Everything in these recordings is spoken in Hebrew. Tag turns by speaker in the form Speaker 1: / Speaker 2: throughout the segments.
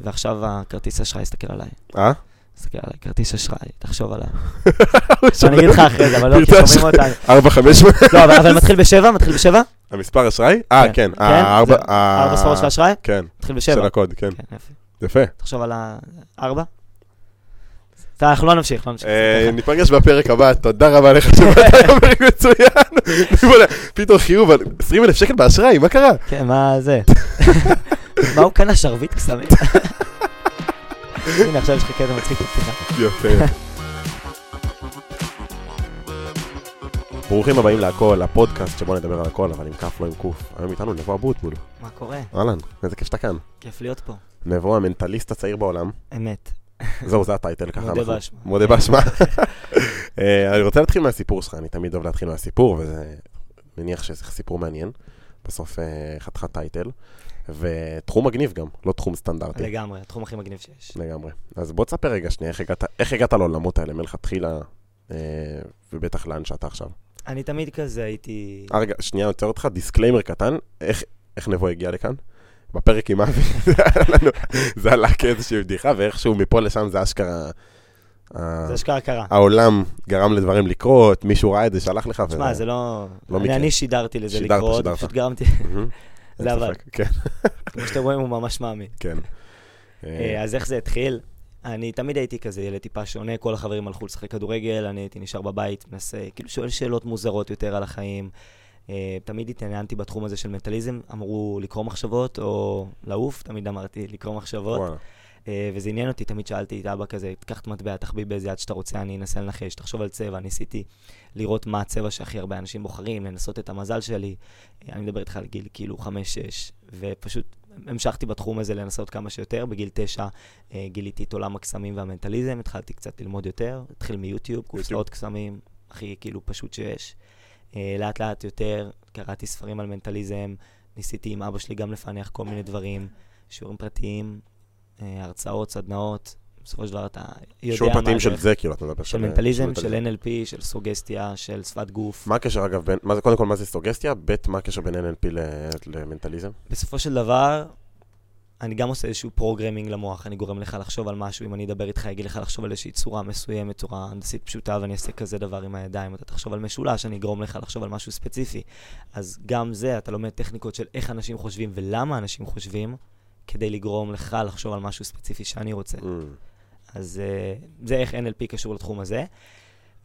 Speaker 1: ועכשיו הכרטיס אשראי יסתכל עליי.
Speaker 2: אה?
Speaker 1: תסתכל עליי, כרטיס אשראי, תחשוב עליו.
Speaker 2: הוא
Speaker 1: אני אגיד לך
Speaker 2: שולח-
Speaker 1: אחרי זה, אבל לא, כי
Speaker 2: פרטי
Speaker 1: שומעים
Speaker 2: אשראי.
Speaker 1: אותנו.
Speaker 2: ארבע, חמש, שמונה.
Speaker 1: לא, אבל- אבל מתחיל בשבע, מתחיל בשבע?
Speaker 2: המספר אשראי? אה,
Speaker 1: כן.
Speaker 2: כן.
Speaker 1: כן?
Speaker 2: הארבע...
Speaker 1: זה-
Speaker 2: ה-
Speaker 1: ארבע ספרות של אשראי?
Speaker 2: כן,
Speaker 1: מתחיל
Speaker 2: של
Speaker 1: בשבע.
Speaker 2: הקוד, כן.
Speaker 1: כן, יפה.
Speaker 2: יפה.
Speaker 1: תחשוב על הארבע. טוב, אנחנו לא נמשיך, לא נמשיך.
Speaker 2: אה, ניפגש בפרק הבא, תודה רבה לך שבאת היום פרק מצוין. פתאום חיוב על 20 אלף שקל באשראי, מה קרה?
Speaker 1: כן, מה זה? מה הוא קנה שרביט קסמים? הנה, עכשיו יש לך קטע מצחיק בפתיחה.
Speaker 2: יפה. ברוכים הבאים להכל, הפודקאסט שבו נדבר על הכל, אבל עם כף לא עם קוף. היום איתנו נבו אבוטבול.
Speaker 1: מה קורה?
Speaker 2: אהלן, איזה כיף שאתה כאן.
Speaker 1: כיף להיות פה.
Speaker 2: נבו המנטליסט הצעיר בעולם.
Speaker 1: אמת.
Speaker 2: זהו, זה הטייטל ככה.
Speaker 1: מודה
Speaker 2: אנחנו-
Speaker 1: באשמה.
Speaker 2: מודה באשמה. אה, אני רוצה להתחיל מהסיפור שלך, אני תמיד אוהב להתחיל מהסיפור, וזה מניח שזה סיפור מעניין. בסוף אה, חתיכת טייטל. ותחום מגניב גם, לא תחום סטנדרטי.
Speaker 1: לגמרי, התחום הכי מגניב שיש.
Speaker 2: לגמרי. אז בוא תספר רגע שנייה, איך הגעת, איך הגעת לעולמות האלה מלכתחילה, אה, ובטח לאן שאתה עכשיו.
Speaker 1: אני תמיד כזה הייתי...
Speaker 2: אה, רגע, שנייה, אני עוצר אותך, דיסקליימר קטן, איך, איך נבו הגיע לכאן? בפרק עם אבי, זה היה לנו- זה עלה כאיזושהי בדיחה, ואיכשהו מפה לשם זה אשכרה... ה-
Speaker 1: זה אשכרה קרה.
Speaker 2: אה, העולם גרם לדברים לקרות, מישהו ראה את זה, שלח לך, וזה...
Speaker 1: תשמע, זה לא...
Speaker 2: לא
Speaker 1: אני-
Speaker 2: מקרה.
Speaker 1: אני שידרתי לזה
Speaker 2: שידרת,
Speaker 1: לקרות,
Speaker 2: שידרת.
Speaker 1: פשוט גרמתי,
Speaker 2: מהמם. אין
Speaker 1: זה עבד.
Speaker 2: ספק, כן,
Speaker 1: כמו שאתם רואים, הוא ממש מאמין.
Speaker 2: כן.
Speaker 1: אה,
Speaker 2: אה,
Speaker 1: אז איך זה התחיל? אני תמיד הייתי כזה ילד טיפה שונה, כל החברים הלכו לשחק כדורגל, אני הייתי נשאר בבית, מנסה, כאילו שואל שאלות מוזרות יותר על החיים. אה, תמיד התעניינתי בתחום הזה של מטאליזם, אמרו לקרוא מחשבות או לעוף, תמיד אמרתי לקרוא מחשבות.
Speaker 2: וואלה.
Speaker 1: אה, וזה עניין אותי, תמיד שאלתי את אבא כזה, תקח את מטבע, תחביא באיזה יד שאתה רוצה, אני אנסה לנחש, תחשוב על צבע, ניסיתי לראות מה הצבע שהכי הרבה אנשים בוחרים, לנסות את המזל שלי. אה, אני מדבר איתך על גיל כאילו 5-6, ופשוט המשכתי בתחום הזה לנסות כמה שיותר. בגיל 9 אה, גיליתי את עולם הקסמים והמנטליזם, התחלתי קצת ללמוד יותר, התחיל מיוטיוב, קורסאות קסמים, הכי כאילו פשוט שיש. אה, לאט לאט יותר, קראתי ספרים על מנטליזם, ניסיתי עם אבא שלי גם לפענח כל מיני דברים, שיעורים פרטיים, אה, הרצאות, סדנאות, בסופו של דבר אתה יודע
Speaker 2: שיעור
Speaker 1: מה
Speaker 2: פרטים של
Speaker 1: הדרך.
Speaker 2: זה, כאילו, אתה מדבר
Speaker 1: של מנטליזם, של NLP, של סוגסטיה, של שפת גוף.
Speaker 2: מה הקשר, אגב, בין... מה זה, קודם כל, מה זה סוגסטיה? ב', מה הקשר בין NLP ל- למנטליזם?
Speaker 1: בסופו של דבר, אני גם עושה איזשהו פרוגרמינג למוח, אני גורם לך לחשוב על משהו, אם אני אדבר איתך, אגיד לך לחשוב על איזושהי צורה מסוימת, צורה הנדסית פשוטה, ואני אעשה כזה דבר עם הידיים, אתה תחשוב על משולש, אני אגרום לך לחשוב על משהו ספציפי. אז גם זה, אתה לומד טכניקות של איך אנשים חושבים ולמה אנשים חושבים, כדי לגרום לך לחשוב על משהו ספציפי שאני רוצה.
Speaker 2: אמ,
Speaker 1: אז uh, זה איך NLP קשור לתחום הזה.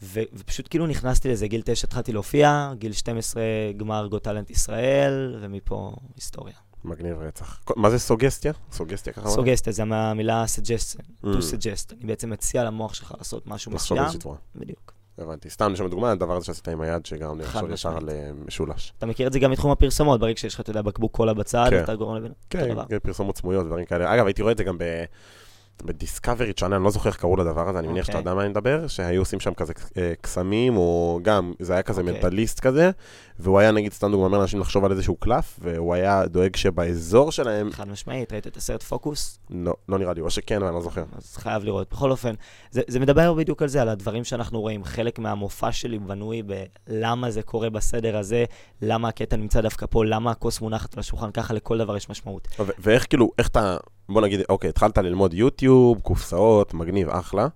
Speaker 1: ו- ופשוט כאילו נכנסתי לזה, גיל 9 התחלתי להופיע, גיל 12 גמר גו טאלנט ישראל, ומפה היסטוריה.
Speaker 2: מגניב רצח. כל- מה זה סוגסטיה? סוגסטיה ככה? אמרת?
Speaker 1: סוגסטיה זה מהמילה suggestion,
Speaker 2: אמ,
Speaker 1: to suggest. אני בעצם מציע למוח שלך לעשות משהו
Speaker 2: לחשוב
Speaker 1: מסוים.
Speaker 2: באיזושהי צורה.
Speaker 1: בדיוק.
Speaker 2: הבנתי. סתם לשם דוגמה, הדבר הזה שעשית עם היד, שגרם לי
Speaker 1: חד
Speaker 2: לחשוב ישר על
Speaker 1: משמעית.
Speaker 2: אה, משולש.
Speaker 1: אתה מכיר את זה גם מתחום הפרסומות, ברגע שיש לך, אתה יודע, בקבוק קולה בצד,
Speaker 2: כן.
Speaker 1: אתה גורם לבין.
Speaker 2: כן,
Speaker 1: דבר.
Speaker 2: כן, פרסומות סמויות, דברים כאלה. אגב, הייתי רואה את זה גם ב... בדיסקאברי צ'אנל, אני לא זוכר איך קראו לדבר הזה, אני מניח שאתה
Speaker 1: אוקיי.
Speaker 2: יודע מה אני מדבר, שהיו עושים שם כזה אה, קסמים, או גם, זה היה כזה
Speaker 1: אוקיי.
Speaker 2: מנטליסט כזה, והוא היה נגיד סתם דוגמא אומר לאנשים לחשוב על איזשהו קלף, והוא היה דואג שבאזור שלהם,
Speaker 1: חד משמעית, ראית את הסרט פוקוס?
Speaker 2: לא, לא נראה לי, או שכן, אבל אני לא זוכר.
Speaker 1: אז חייב לראות. בכל אופן, זה, זה מדבר בדיוק על זה, על הדברים שאנחנו רואים. חלק מהמופע שלי בנוי בלמה זה קורה בסדר הזה, למה הקטע נמצא דווקא פה, למה הכוס מונחת על השולחן, ככה לכל דבר יש משמעות.
Speaker 2: ו- ואיך כאילו, איך אתה, בוא נגיד, אוקיי, התחלת ללמוד יוטיוב, קופסאות, מגניב, אחלה.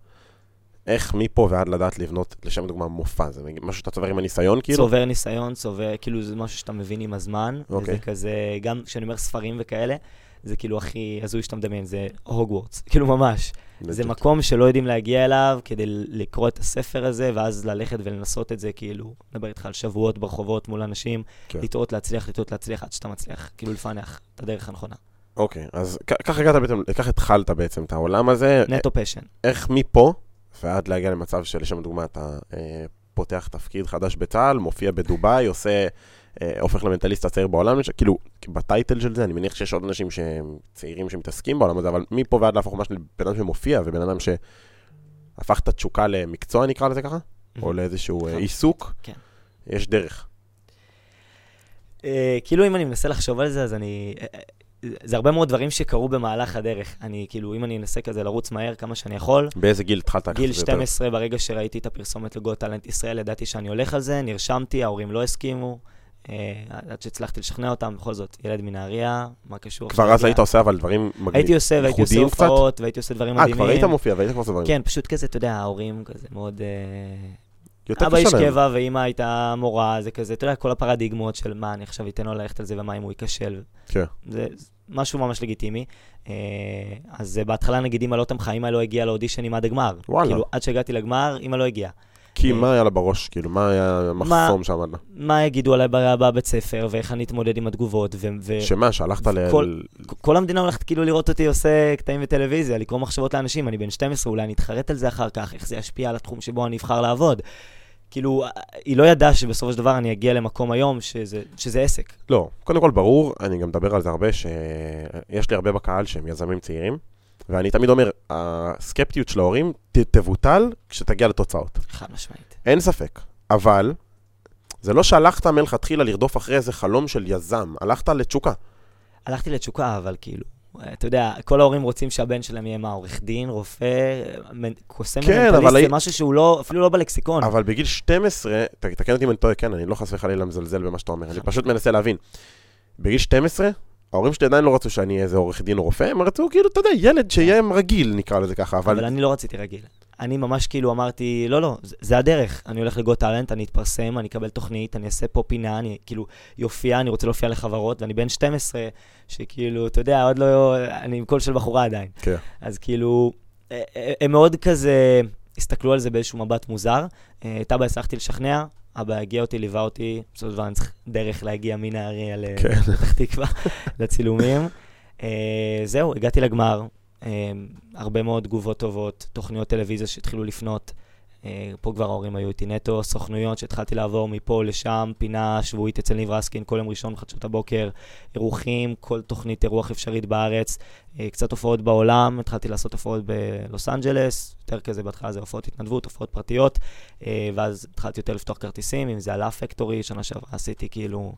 Speaker 2: איך מפה ועד לדעת לבנות, לשם דוגמה, מופע, זה נגיד משהו שאתה צובר עם הניסיון, כאילו?
Speaker 1: צובר ניסיון, צובר, כאילו זה משהו שאתה מבין עם הזמן,
Speaker 2: אוקיי.
Speaker 1: וזה כזה, גם כשאני אומר ספרים וכאלה, זה כאילו הכי הזוי שאתה מדמיין, זה הוגוורטס, כאילו ממש. זה
Speaker 2: לג'יט.
Speaker 1: מקום שלא יודעים להגיע אליו כדי ל- לקרוא את הספר הזה, ואז ללכת ולנסות את זה, כאילו, נדבר איתך על שבועות ברחובות מול אנשים,
Speaker 2: כן.
Speaker 1: כן. לטעות, להצליח, לטעות, להצליח, עד שאתה מצליח, כאילו לפענח את הדרך הנכונה.
Speaker 2: אוקיי, אז כ- ככה הגעת בעצם, ככה התחלת בעצם את העולם הזה,
Speaker 1: נטו פשן.
Speaker 2: איך מפה ועד להגיע למצב שלשם דוגמה אתה אה, פותח תפקיד חדש בצה"ל, מופיע בדובאי, עושה, אה, הופך למנטליסט הצעיר בעולם, לש- כאילו, בטייטל של זה, אני מניח שיש עוד אנשים שהם צעירים שמתעסקים בעולם הזה, אבל מפה ועד להפוך ממש לבן אדם שמופיע ובן אדם שהפך את התשוקה למקצוע, נקרא לזה ככה, או לאיזשהו אה,
Speaker 1: כן.
Speaker 2: עיסוק,
Speaker 1: כן.
Speaker 2: יש דרך.
Speaker 1: אה, כאילו, אם אני מנסה לחשוב על זה, אז אני... אה, אה, זה הרבה מאוד דברים שקרו במהלך הדרך. אני, כאילו, אם אני אנסה כזה לרוץ מהר כמה שאני יכול,
Speaker 2: באיזה גיל התחלת לקחת את
Speaker 1: גיל
Speaker 2: זה יותר?
Speaker 1: 12, ברגע שראיתי את הפרסומת לגו טאלנט ישראל, ידעתי שאני הולך על זה, נרשמתי, ההורים לא הסכימו. אה, עד שהצלחתי לשכנע אותם, בכל זאת, ילד מנהריה, מה קשור?
Speaker 2: כבר
Speaker 1: עכשיו
Speaker 2: אז היית
Speaker 1: הגיע-
Speaker 2: עושה אבל דברים מגניבים.
Speaker 1: הייתי עושה, והייתי עושה
Speaker 2: ייחודיים קצת?
Speaker 1: הופעות, והייתי עושה דברים
Speaker 2: אה,
Speaker 1: מדהימים.
Speaker 2: כבר היית מופיע והיית כבר עושה דברים.
Speaker 1: כן, פשוט כזה, אתה יודע, ההורים כזה מאוד... אה,
Speaker 2: יותר
Speaker 1: אבא איש
Speaker 2: קשה להם.
Speaker 1: קבע ואימא הייתה מורה, זה כזה, אתה יודע, כל הפרדיגמות של מה, אני עכשיו אתן לו ללכת על זה ומה אם הוא ייכשל.
Speaker 2: כן.
Speaker 1: זה זה משהו ממש לגיטימי. אה, אז אה, בהתחלה, נגיד, אימא לא תמכה, אימא לא הגיעה לאודישנים עד הגמר.
Speaker 2: וואלה.
Speaker 1: כאילו, עד שהגעתי לגמר, אימא לא הגיעה.
Speaker 2: כי מה היה לה בראש? כאילו, מה היה המחסום שעמד לה?
Speaker 1: מה יגידו עליי ב- בבית ספר, ואיך אני אתמודד עם התגובות, ו... ו-
Speaker 2: שמה, שהלכת ל...
Speaker 1: אה. כל- כל המדינה הולכת כאילו לראות אותי עושה קטעים בטלוויזיה, לקרוא מחשבות לאנשים, אני בן 12, אולי אני אתחרט על זה אחר כך, איך זה ישפיע על התחום שבו אני אבחר לעבוד. כאילו, היא לא ידעה שבסופו של דבר אני אגיע למקום היום שזה, שזה עסק.
Speaker 2: לא, קודם כל ברור, אני גם מדבר על זה הרבה, שיש לי הרבה בקהל שהם יזמים צעירים, ואני תמיד אומר, הסקפטיות של ההורים ת- תבוטל כשתגיע לתוצאות.
Speaker 1: חד משמעית.
Speaker 2: אין ספק. אבל, זה לא שהלכת מלכתחילה לרדוף אחרי איזה חלום של יזם, הלכת לתשוקה.
Speaker 1: הלכתי לתשוקה, אבל כאילו, אתה יודע, כל ההורים רוצים שהבן שלהם יהיה מה, עורך דין, רופא, מנ- קוסם
Speaker 2: כן, אבל
Speaker 1: מנטליסט,
Speaker 2: הי-
Speaker 1: זה משהו שהוא לא, אפילו לא בלקסיקון.
Speaker 2: אבל בגיל 12, ת- תקן אותי אם אני טועה, כן, אני לא חס וחלילה מזלזל במה שאתה אומר,
Speaker 1: נכון.
Speaker 2: אני פשוט מנסה להבין. בגיל 12, ההורים שלי עדיין לא רצו שאני אהיה איזה עורך דין או רופא, הם רצו כאילו, אתה יודע, ילד שיהיה רגיל, נקרא לזה ככה,
Speaker 1: אבל...
Speaker 2: אבל...
Speaker 1: כן. אבל אני לא רציתי רגיל. אני ממש כאילו אמרתי, לא, לא, זה, זה הדרך. אני הולך לגו טאלנט, אני אתפרסם, אני אקבל תוכנית, אני אעשה פה פינה, אני כאילו יופיע, אני רוצה להופיע לחברות, ואני בן 12, שכאילו, אתה יודע, עוד לא, אני עם קול של בחורה עדיין.
Speaker 2: כן.
Speaker 1: אז כאילו, אה, אה, הם מאוד כזה הסתכלו על זה באיזשהו מבט מוזר. אה, את אבא הצלחתי לשכנע, אבא הגיע אותי, ליווה אותי, בסופו של דבר אני צריך דרך להגיע מנהריה ל-
Speaker 2: כן.
Speaker 1: לפתח תקווה, לצילומים. אה, זהו, הגעתי לגמר, אה, הרבה מאוד תגובות טובות, תוכניות טלוויזיה שהתחילו לפנות. אה, פה כבר ההורים היו איתי נטו, סוכנויות שהתחלתי לעבור מפה לשם, פינה שבועית אצל ניב רסקין, כל יום ראשון בחדשות הבוקר, אירוחים, כל תוכנית אירוח אפשרית בארץ, אה, קצת הופעות בעולם, התחלתי לעשות הופעות בלוס אנג'לס, יותר כזה בהתחלה זה הופעות התנדבות, הופעות פרטיות, אה, ואז התחלתי יותר לפתוח כרטיסים, אם זה עלה פקטורי, שנה שעברה עשיתי כאילו,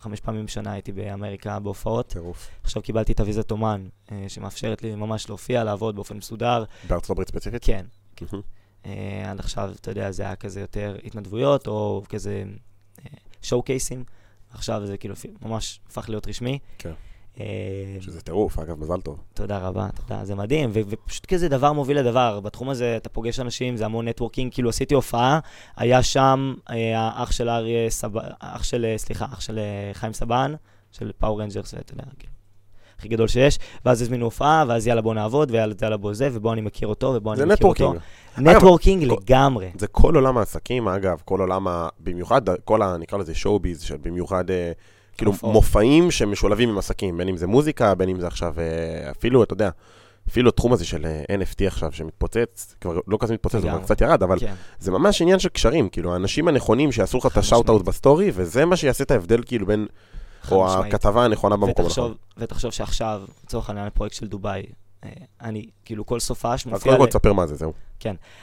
Speaker 1: חמש פעמים בשנה הייתי באמריקה בהופעות.
Speaker 2: טירוף.
Speaker 1: עכשיו קיבלתי את הוויזת אומן, אה, שמאפשרת לי ממש להופיע, לעבוד באופן מסודר.
Speaker 2: בארצות הברית ספציפית?
Speaker 1: כן,
Speaker 2: מהמם.
Speaker 1: אה, עד עכשיו, אתה יודע, זה היה כזה יותר התנדבויות, או כזה שואו קייסים. עכשיו זה כאילו אפילו ממש הפך להיות רשמי.
Speaker 2: כן.
Speaker 1: אה,
Speaker 2: שזה טירוף, אגב, מזל טוב.
Speaker 1: תודה רבה, תודה, זה מדהים, ו- ופשוט כזה דבר מוביל לדבר. בתחום הזה אתה פוגש אנשים, זה המון נטוורקינג, כאילו עשיתי הופעה, היה שם אה, האח של אריה סבן, אח של, אה, סליחה, אח של אה, חיים סבן, של פאור רנג'רס, אתה יודע, כאילו, הכי גדול שיש, ואז הזמינו הופעה, ואז יאללה בוא נעבוד, ויאללה בוא זה, ובוא אני מכיר אותו, ובוא אני
Speaker 2: זה
Speaker 1: מכיר אותו.
Speaker 2: נטוורקינג.
Speaker 1: נטוורקינג
Speaker 2: כל-
Speaker 1: לגמרי.
Speaker 2: זה כל עולם העסקים, אגב, כל עולם ה... במיוחד, ה- כל ה... נקרא לזה שואו-ביז, של במיוחד, אה, כאילו,
Speaker 1: הופעות.
Speaker 2: מופעים שמשולבים עם עסקים, בין אם זה מוזיקה, בין אם זה עכשיו, אה, אפילו, אתה יודע, אפילו התחום הזה של אה, NFT עכשיו, שמתפוצץ, כבר לא כזה מתפוצץ, הוא כבר
Speaker 1: לגמרי.
Speaker 2: קצת ירד, אבל
Speaker 1: כן.
Speaker 2: זה ממש עניין של קשרים, כאילו, האנשים הנכונים שיעשו לך את
Speaker 1: חד
Speaker 2: השאוט-אאוט
Speaker 1: משמעית.
Speaker 2: בסטורי, וזה מה שיעשה את ההבדל, כאילו, בין...
Speaker 1: חד
Speaker 2: או
Speaker 1: משמעית.
Speaker 2: הכתבה הנכונה במקום הנכון.
Speaker 1: ותחשוב, ותחשוב שעכשיו, לצורך העניין, הפרויקט של דובאי, אה, אני, כאילו, כל סופש
Speaker 2: אז
Speaker 1: מופיע...
Speaker 2: קודם כל
Speaker 1: ל-
Speaker 2: תספר מה זה, זהו.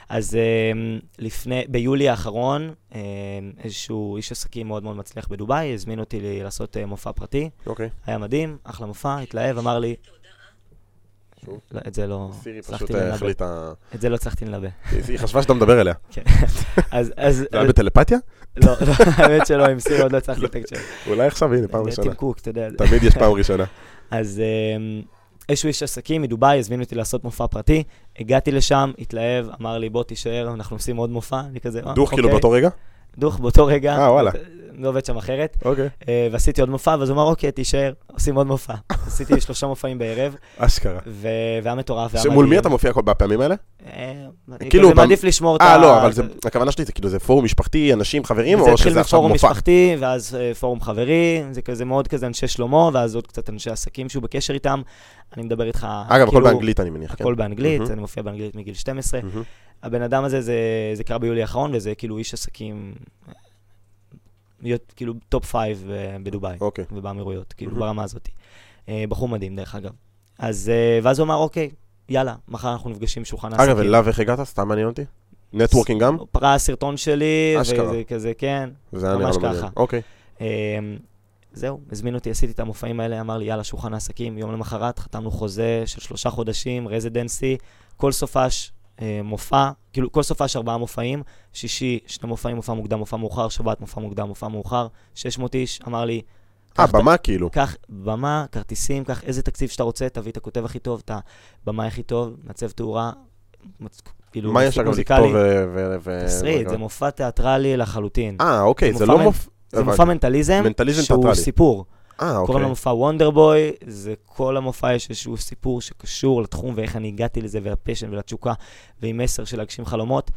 Speaker 1: אז אמ, לפני, ביולי האחרון, אמ, איזשהו איש עסקים מאוד מאוד מצליח בדובאי, הזמין אותי ל- לעשות אה, מופע פרטי,
Speaker 2: אוקיי.
Speaker 1: היה מדהים, אחלה מופע, התלהב, אמר לי...
Speaker 2: שוב?
Speaker 1: לא, את זה לא
Speaker 2: סירי פשוט
Speaker 1: הצלחתי
Speaker 2: אה,
Speaker 1: לנבא.
Speaker 2: החליטה...
Speaker 1: את זה לא הצלחתי לנבא.
Speaker 2: היא חשבה שאתה מדבר אליה.
Speaker 1: כן. אז, אז,
Speaker 2: זה היה בטלפתיה?
Speaker 1: לא, לא, האמת שלא, עם סיר עוד לא הצלחתי לתקשר.
Speaker 2: אולי עכשיו, הנה, פעם
Speaker 1: זה
Speaker 2: ראשונה.
Speaker 1: טים קוק, אתה יודע.
Speaker 2: תמיד יש פעם ראשונה.
Speaker 1: אה, אז אמ, איזשהו איש עסקים מדובאי הזמין אותי לעשות מופע פרטי, הגעתי לשם, התלהב, אמר לי בוא תישאר, אנחנו עושים עוד מופע, אני כזה, "אה,
Speaker 2: דוך כאילו
Speaker 1: אוקיי."
Speaker 2: באותו רגע?
Speaker 1: דוך באותו רגע.
Speaker 2: אה, וואלה.
Speaker 1: לא עובד שם אחרת.
Speaker 2: אוקיי.
Speaker 1: אה, ועשיתי עוד מופע, ואז הוא אמר, אוקיי, תישאר, עושים עוד מופע. עשיתי שלושה מופעים בערב,
Speaker 2: אשכרה.
Speaker 1: ו- והיה מטורף. והיה
Speaker 2: שמול מי
Speaker 1: מדהים.
Speaker 2: אתה מופיע כל בפעמים האלה?
Speaker 1: אה, אני
Speaker 2: כאילו,
Speaker 1: כאילו,
Speaker 2: במ-
Speaker 1: מעדיף לשמור את ה...
Speaker 2: אה, לא, אבל זה-
Speaker 1: את ה-
Speaker 2: הכוונה שלי זה כאילו זה פורום משפחתי, אנשים, חברים,
Speaker 1: זה
Speaker 2: או
Speaker 1: התחיל
Speaker 2: שזה עכשיו
Speaker 1: מפורום
Speaker 2: מופע?
Speaker 1: משפחתי, ואז אה, פורום חברי, זה כזה מאוד כזה אנשי שלמה, ואז עוד קצת אנשי עסקים שהוא בקשר איתם. אני מדבר איתך,
Speaker 2: אגב, הכל
Speaker 1: כאילו,
Speaker 2: באנגלית אני מניח, כן.
Speaker 1: הכל באנגלית,
Speaker 2: מהמם.
Speaker 1: אני מופיע באנגלית מגיל 12.
Speaker 2: מהמם.
Speaker 1: הבן אדם הזה, זה, זה קרה ביולי האחרון, וזה כאילו איש עסקים, אה, להיות כאילו טופ פייב אה, בדובאי.
Speaker 2: אוקיי.
Speaker 1: ובאמירויות, כאילו,
Speaker 2: מהמם.
Speaker 1: ברמה הזאת. אה, בחור מדהים, דרך אגב. אז, אה, ואז הוא אמר, אוקיי, יאללה, מחר אנחנו נפגשים שולחן העסקים.
Speaker 2: אגב, אליו איך הגעת? סתם מעניין אותי. נטוורקינג גם?
Speaker 1: הוא פרע סרטון שלי,
Speaker 2: אשכרה.
Speaker 1: וזה כזה, כן.
Speaker 2: זה היה נראה
Speaker 1: ממש
Speaker 2: לא מעניין.
Speaker 1: ככה.
Speaker 2: אוקיי.
Speaker 1: אה, זהו, הזמין אותי, עשיתי את המופעים האלה, אמר לי, יאללה, שולחן העסקים. יום למחרת חתמנו חוזה של שלושה חודשים, רזידנסי, כל סופש. אה, מופע, כאילו כל סופה יש ארבעה מופעים, שישי, שני מופעים, מופע מוקדם, מופע מאוחר, שבת, מופע מוקדם, מופע מאוחר, 600 איש, אמר לי,
Speaker 2: אה,
Speaker 1: קח את ה-
Speaker 2: במה כאילו.
Speaker 1: קח במה, כרטיסים, קח איזה תקציב שאתה רוצה, תביא את הכותב הכי טוב, את הבמאי הכי טוב, מעצב תאורה, מצ- כאילו,
Speaker 2: מה יש
Speaker 1: מספיק
Speaker 2: לך גם
Speaker 1: מוזיקלי.
Speaker 2: לכתוב ו- ו... ו-
Speaker 1: תסריט, זה מופע תיאטרלי לחלוטין.
Speaker 2: אה, אוקיי,
Speaker 1: זה
Speaker 2: זה
Speaker 1: מופע
Speaker 2: לא
Speaker 1: מנ-
Speaker 2: מופע...
Speaker 1: זה מופע מנטליזם,
Speaker 2: מנטליזם
Speaker 1: שהוא
Speaker 2: תיאטרלי.
Speaker 1: סיפור.
Speaker 2: אה,
Speaker 1: קוראים
Speaker 2: אוקיי.
Speaker 1: למופע וונדר בוי, זה כל המופע יש איזשהו סיפור שקשור לתחום ואיך אני הגעתי לזה ולפשן ולתשוקה ועם מסר של להגשים חלומות.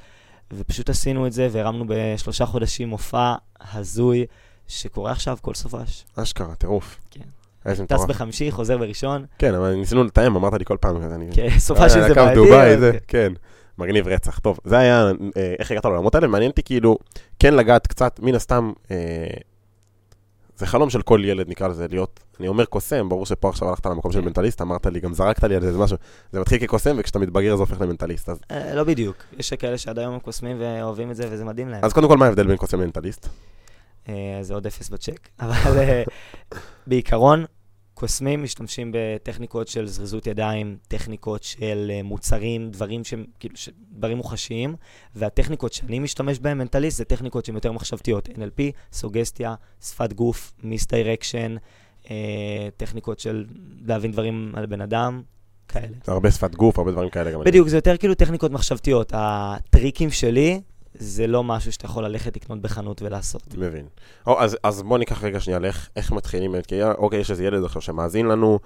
Speaker 1: ופשוט עשינו את זה והרמנו בשלושה חודשים מופע הזוי שקורה עכשיו כל סופש.
Speaker 2: אשכרה, טירוף.
Speaker 1: כן.
Speaker 2: איזה
Speaker 1: טס
Speaker 2: מטורף.
Speaker 1: בחמישי, חוזר בראשון,
Speaker 2: כן, אבל ניסינו לתאם, אמרת לי כל פעם, אז אני...
Speaker 1: כי סופש
Speaker 2: אה,
Speaker 1: כן, זה
Speaker 2: לקו
Speaker 1: בעייתי.
Speaker 2: דובאי,
Speaker 1: אבל-
Speaker 2: זה, כן. מגניב רצח. טוב, זה היה, אה, איך הגעת לעולמות האלה? מעניין אותי כאילו, כן לגעת קצת, מן הסתם, אה, זה חלום של כל ילד, נקרא לזה, להיות, אני אומר קוסם, ברור שפה עכשיו הלכת למקום של מנטליסט, אמרת לי, גם זרקת לי על זה איזה משהו. זה מתחיל כקוסם, וכשאתה מתבגר זה הופך למנטליסט. אז,
Speaker 1: אה, לא בדיוק. יש כאלה שעד היום הם קוסמים ואוהבים את זה וזה מדהים להם.
Speaker 2: אז קודם כל, מה ההבדל בין קוסם למנטליסט?
Speaker 1: אה, זה עוד אפס בצ'ק, אבל אה, בעיקרון, קוסמים משתמשים בטכניקות של זריזות ידיים, טכניקות של אה, מוצרים, דברים שהם, כאילו, ש... דברים מוחשיים, והטכניקות שאני משתמש בהן, מנטליסט, זה טכניקות שהן יותר מחשבתיות, NLP, סוגסטיה, שפת גוף, מיסטיירקשן, אה, טכניקות של להבין דברים על בן אדם, כאלה.
Speaker 2: זה הרבה שפת גוף, הרבה דברים כאלה גם. אני-
Speaker 1: בדיוק, זה יותר כאילו טכניקות מחשבתיות. הטריקים שלי, זה לא משהו שאתה יכול ללכת לקנות בחנות ולעשות.
Speaker 2: מבין. או, אז, אז בוא ניקח רגע שנייה לאיך איך מתחילים באמת, כי אוקיי, יש איזה ילד עכשיו שמאזין לנו.